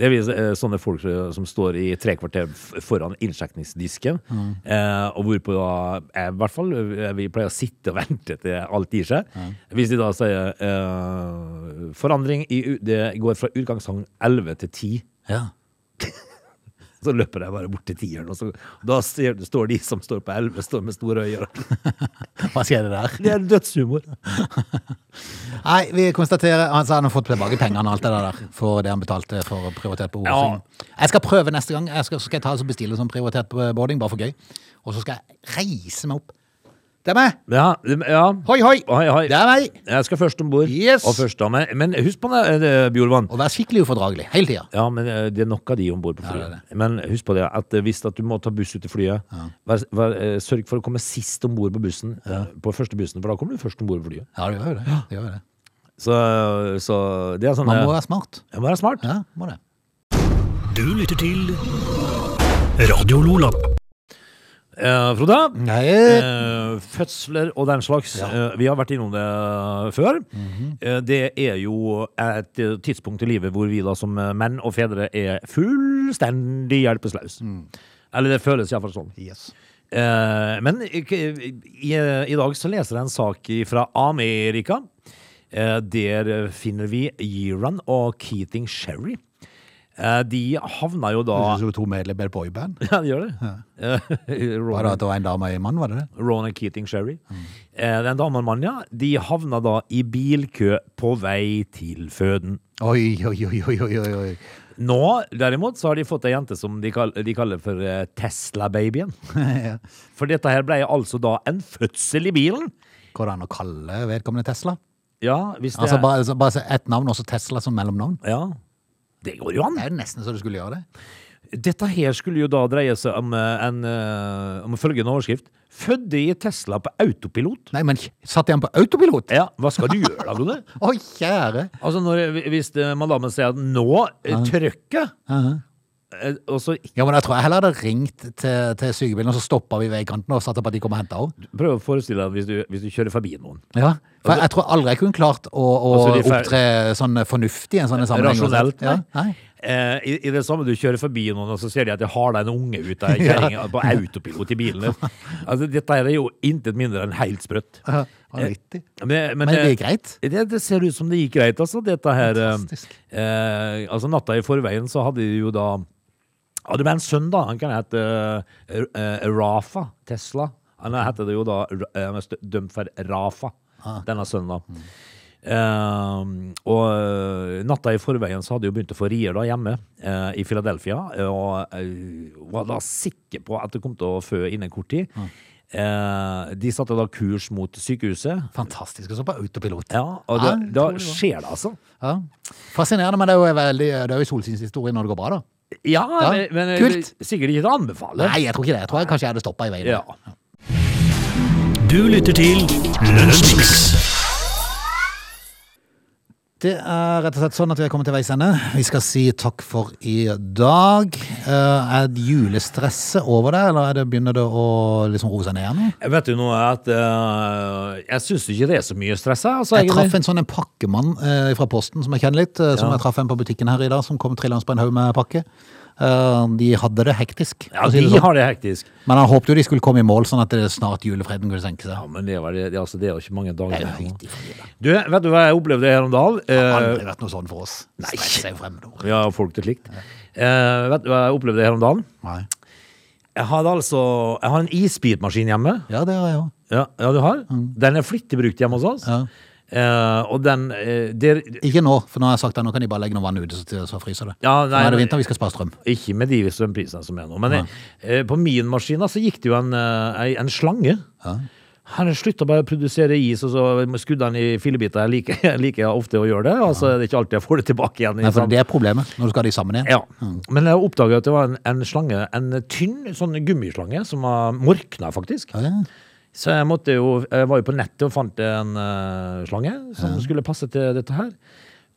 [SPEAKER 3] Det er vis- eh, sånne folk som som står i tre kvarter f- foran innsjekningsdisken, eh, og hvorpå da jeg, i hvert fall eh, vi pleier å sitte og vente til alt gir seg. Hvis de da sier eh, forandring i u- Det går fra utgangssang 11 til 10.
[SPEAKER 1] Ja.
[SPEAKER 3] Så løper jeg bare bort til tieren, og så, da ser, står de som står på 11, står med store øyne.
[SPEAKER 1] Hva skjer det der?
[SPEAKER 3] Det er dødshumor.
[SPEAKER 1] Nei, vi konstaterer altså, han har fått tilbake pengene og alt det der for det han betalte for prioritert på
[SPEAKER 3] Ja.
[SPEAKER 1] boarding. Jeg skal prøve neste gang. Jeg skal, skal jeg ta og bestille sånn prioritert på boarding, bare for gøy. Og så skal jeg reise meg opp. Det er meg!
[SPEAKER 3] Ja, ja.
[SPEAKER 1] Hoi, hoi!
[SPEAKER 3] Hei, hei.
[SPEAKER 1] Det er meg!
[SPEAKER 3] Jeg skal først om bord.
[SPEAKER 1] Yes.
[SPEAKER 3] Og først av meg. Men husk på det, eh, Bjorvann.
[SPEAKER 1] Og vær skikkelig ufordragelig hele tida.
[SPEAKER 3] Ja, men eh, det er nok av de om bord på
[SPEAKER 1] det
[SPEAKER 3] flyet.
[SPEAKER 1] er
[SPEAKER 3] Men husk på det at eh, hvis at du må ta buss ut til flyet, vær, vær, eh, sørg for å komme sist om bord på bussen. eh, På første bussen, for da kommer du først om bord på flyet.
[SPEAKER 1] Ja, det gjør jo det. det, gjør jo det.
[SPEAKER 3] Så, så det er sånn
[SPEAKER 1] Man må
[SPEAKER 3] eh,
[SPEAKER 1] være smart.
[SPEAKER 3] Jeg må være smart.
[SPEAKER 1] Ja, må det.
[SPEAKER 2] Du lytter til Radio Lola.
[SPEAKER 3] Eh, Frode.
[SPEAKER 1] Nei,
[SPEAKER 3] eh, fødsler og den slags. Eh, vi har vært innom det før.
[SPEAKER 1] Mhm.
[SPEAKER 3] Eh, det er jo et eh, tidspunkt i livet hvor vi da som eh, menn og fedre er fullstendig hjelpeløse.
[SPEAKER 1] Mm.
[SPEAKER 3] Eller det føles iallfall sånn.
[SPEAKER 1] yes.
[SPEAKER 3] Eh, men i, i, i dag så leser jeg en sak fra Amerika. Eh, der finner vi Yeran og Keating Sherry. Eh, de havna jo da
[SPEAKER 1] Høres ut som to medlemmer i et boyband.
[SPEAKER 3] Ja, de gjør det. Eh,
[SPEAKER 1] Var det at det var en dame og en mann, var det det?
[SPEAKER 3] Ronan Keating Sherry. Eh, Den damen og mannen, ja. De havna da i bilkø på vei til føden.
[SPEAKER 1] Oi, oi, oi, oi, oi, oi, oi.
[SPEAKER 3] Nå, derimot, så har de fått ei jente som de, kall, de kaller for eh, Tesla-babyen.
[SPEAKER 1] Ja.
[SPEAKER 3] For dette her ble altså da en fødsel i bilen.
[SPEAKER 1] Går det an å kalle vedkommende Tesla?
[SPEAKER 3] Ja, hvis det
[SPEAKER 1] Altså
[SPEAKER 3] er
[SPEAKER 1] bare, altså, bare så ett navn, også Tesla som mellomnavn?
[SPEAKER 3] Ja. Det går jo an.
[SPEAKER 1] Det er jo nesten så du skulle gjøre det.
[SPEAKER 3] Dette her skulle jo da dreie seg om, eh, en, eh, om følgende overskrift. Fødde i Tesla på autopilot.
[SPEAKER 1] Nei, men satt jeg den på autopilot?
[SPEAKER 3] Ja, hva skal du gjøre da, Gunnar?
[SPEAKER 1] Å, kjære!
[SPEAKER 3] Altså når, hvis eh, madammen sier at nå eh, trøkket eh, Og så
[SPEAKER 1] Ja, men jeg tror jeg heller hadde ringt til, til sykebilen, og så stoppa vi i veikanten og satte på at de kom og henta henne.
[SPEAKER 3] prøv å forestille deg hvis du, hvis du kjører forbi noen
[SPEAKER 1] Ja. For jeg, jeg tror aldri jeg kunne klart å, å
[SPEAKER 3] Altså, de fer-
[SPEAKER 1] opptre sånn fornuftig i en sånn sammenheng.
[SPEAKER 3] Rasjonelt
[SPEAKER 1] Ja, nei.
[SPEAKER 3] Eh, i, I det samme du kjører forbi noen Og så ser de at de har deg en unge ut av kjæringen På autopilot i bilen din. altså, Dette her er jo intet mindre enn helt sprøtt
[SPEAKER 1] Ja, vanvittig.
[SPEAKER 3] Men, men,
[SPEAKER 1] Men det
[SPEAKER 3] eh,
[SPEAKER 1] gikk greit.
[SPEAKER 3] Det, det ser ut som det gikk greit, altså. Dette her eh,
[SPEAKER 1] Fantastisk.
[SPEAKER 3] eh, Altså, natta i forveien så hadde de jo da Ja, det var en sønn, da. Han kan hete eh, eh, Rafa Tesla. Han heter det jo da eh, mest dømt for Rafa, denne sønnen, da. Eh, og eh, natta i forveien så hadde de jo begynt å få rier da hjemme eh, i Philadelphia, eh, og eh, var da sikker på at det kom til å fø innen kort tid. Eh, de satte da kurs mot sykehuset,
[SPEAKER 1] Fantastisk. Og så på autopilot.
[SPEAKER 3] ja, og da,
[SPEAKER 1] Ja, jeg
[SPEAKER 3] da
[SPEAKER 1] tror det var.
[SPEAKER 3] skjer det, altså.
[SPEAKER 1] Ja. Fascinerende, men det er jo, veldig, det er jo solskinnshistorie når det går bra, da.
[SPEAKER 3] Ja,
[SPEAKER 1] Ja,
[SPEAKER 3] men, men
[SPEAKER 1] kult.
[SPEAKER 3] sikkert ikke til å anbefale.
[SPEAKER 1] Nei, jeg tror ikke det. Jeg tror jeg kanskje jeg hadde stoppa i veien.
[SPEAKER 3] Ja.
[SPEAKER 2] Du lytter til Lunsjmix.
[SPEAKER 1] Det er rett og slett sånn at vi er kommet til veis ende. Vi skal si takk for i dag. Eh, er julestresset over det, eller er det, begynner det å liksom roe seg ned igjen?
[SPEAKER 3] Jeg vet jo noe at eh, Jeg syns ikke det er så mye stress. jeg, Altså,
[SPEAKER 1] Jeg traff
[SPEAKER 3] egentlig.
[SPEAKER 1] en sånn en pakkemann eh, fra Posten som jeg kjenner litt, eh, som jeg traff en på butikken her i dag, som kom trillende på en haug med pakke. Eh, de hadde det hektisk.
[SPEAKER 3] Ja,
[SPEAKER 1] for å si det
[SPEAKER 3] de
[SPEAKER 1] sånn.
[SPEAKER 3] har det hektisk.
[SPEAKER 1] Men han håpte jo de skulle komme i mål, sånn at det snart julefreden kunne senke
[SPEAKER 3] Ja,
[SPEAKER 1] seg.
[SPEAKER 3] men det, var det, det, altså, det er jo ikke mange
[SPEAKER 1] Det
[SPEAKER 3] dager
[SPEAKER 1] er jo
[SPEAKER 3] igjen.
[SPEAKER 1] høyt i forrige dag.
[SPEAKER 3] Du, vet du hva jeg opplevde her om dagen?
[SPEAKER 1] Det
[SPEAKER 3] Eh,
[SPEAKER 1] har aldri vært noe sånn for oss. Nei. Stress er jo fremmedord.
[SPEAKER 3] ja, folk til slikt. Eh, vet du hva jeg opplevde her om dagen?
[SPEAKER 1] Nei.
[SPEAKER 3] Jeg hadde altså Jeg har en isbitmaskin hjemme.
[SPEAKER 1] Ja, det har jeg òg.
[SPEAKER 3] Ja, ja du har? Den er flittig brukt hjemme hos oss.
[SPEAKER 1] Mm. Ja.
[SPEAKER 3] Eh, og den eh, der,
[SPEAKER 1] Ikke nå, for nå har jeg sagt at nå kan de bare legge noe vann ute, så, så fryser det.
[SPEAKER 3] Ja,
[SPEAKER 1] For
[SPEAKER 3] nei,
[SPEAKER 1] nå er det
[SPEAKER 3] men-
[SPEAKER 1] vinter, vi skal spare strøm.
[SPEAKER 3] Ikke med de strømprisene som er nå. Men eh, på min maskin da, så gikk det jo en, eh, ei- en slange. Han slutta bare å produsere is, og så skudde han i fillebiter. Jeg liker, jeg liker ofte å gjøre det. Altså, Det er ikke alltid jeg får det tilbake igjen. i
[SPEAKER 1] Nei, for
[SPEAKER 3] samme-
[SPEAKER 1] det er problemet, når du skal ha de sammen igjen.
[SPEAKER 3] Ja. Men jeg oppdaga at det var en, en slange, en tynn sånn gummislange, som var morkna, faktisk.
[SPEAKER 1] Ja, ja.
[SPEAKER 3] Så jeg, måtte jo, jeg var jo på nettet og fant en eh, slange som skulle passe til dette her.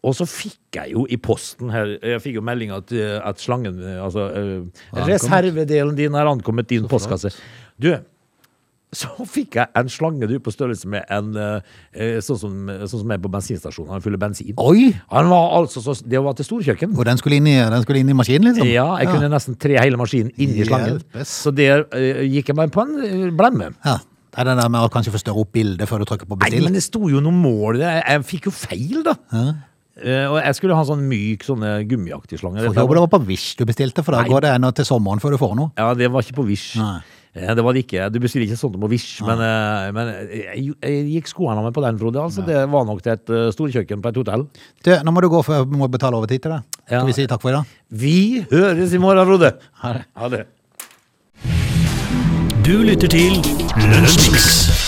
[SPEAKER 3] Og så fikk jeg jo i posten her Jeg fikk jo melding at, eh, at slangen eh, Altså, eh,
[SPEAKER 1] Har ankommet.
[SPEAKER 3] reservedelen din har ankommet din postkasse. Du, så fikk jeg en slange du på størrelse med en eh, eh, sånn som, sånn som er på bensinstasjonen. Han fyller bensin.
[SPEAKER 1] Oi!
[SPEAKER 3] Han var altså så Det var til storkjøkken.
[SPEAKER 1] Og den skulle inn i, den skulle inn i maskinen, liksom?
[SPEAKER 3] Ja, jeg kunne nesten tre hele maskinen inni slangen.
[SPEAKER 1] Hjelpes.
[SPEAKER 3] Så der eh, gikk jeg meg på en eh, blemme.
[SPEAKER 1] Ja. Det er det der med å kanskje få større opp bildet før du trykker på
[SPEAKER 3] Nei, men
[SPEAKER 1] bestill.
[SPEAKER 3] det sto jo noe mål der. Jeg, jeg fikk jo feil, da. Eh, og jeg skulle ha en sånn myk, sånn eh, gummiaktig slange.
[SPEAKER 1] Får håpe det var på Wish du bestilte, for da går det ennå til sommeren før du får noe.
[SPEAKER 3] Ja, det var ikke på Wish.
[SPEAKER 1] Nei.
[SPEAKER 3] Eh, Det var det ikke. Du bestiller ikke sånt på Wish, men, eh, men jeg, jeg gikk skoene med på den, Frode. Altså, det var nok til et eh, storkjøkken på et hotell.
[SPEAKER 1] Du, nå må du gå, for jeg må betale overtid til deg.
[SPEAKER 3] Ja.
[SPEAKER 1] Skal vi si takk for i dag?
[SPEAKER 3] Vi høres i morgen, Frode! Ha det.
[SPEAKER 2] Du lytter til Lunsjmix.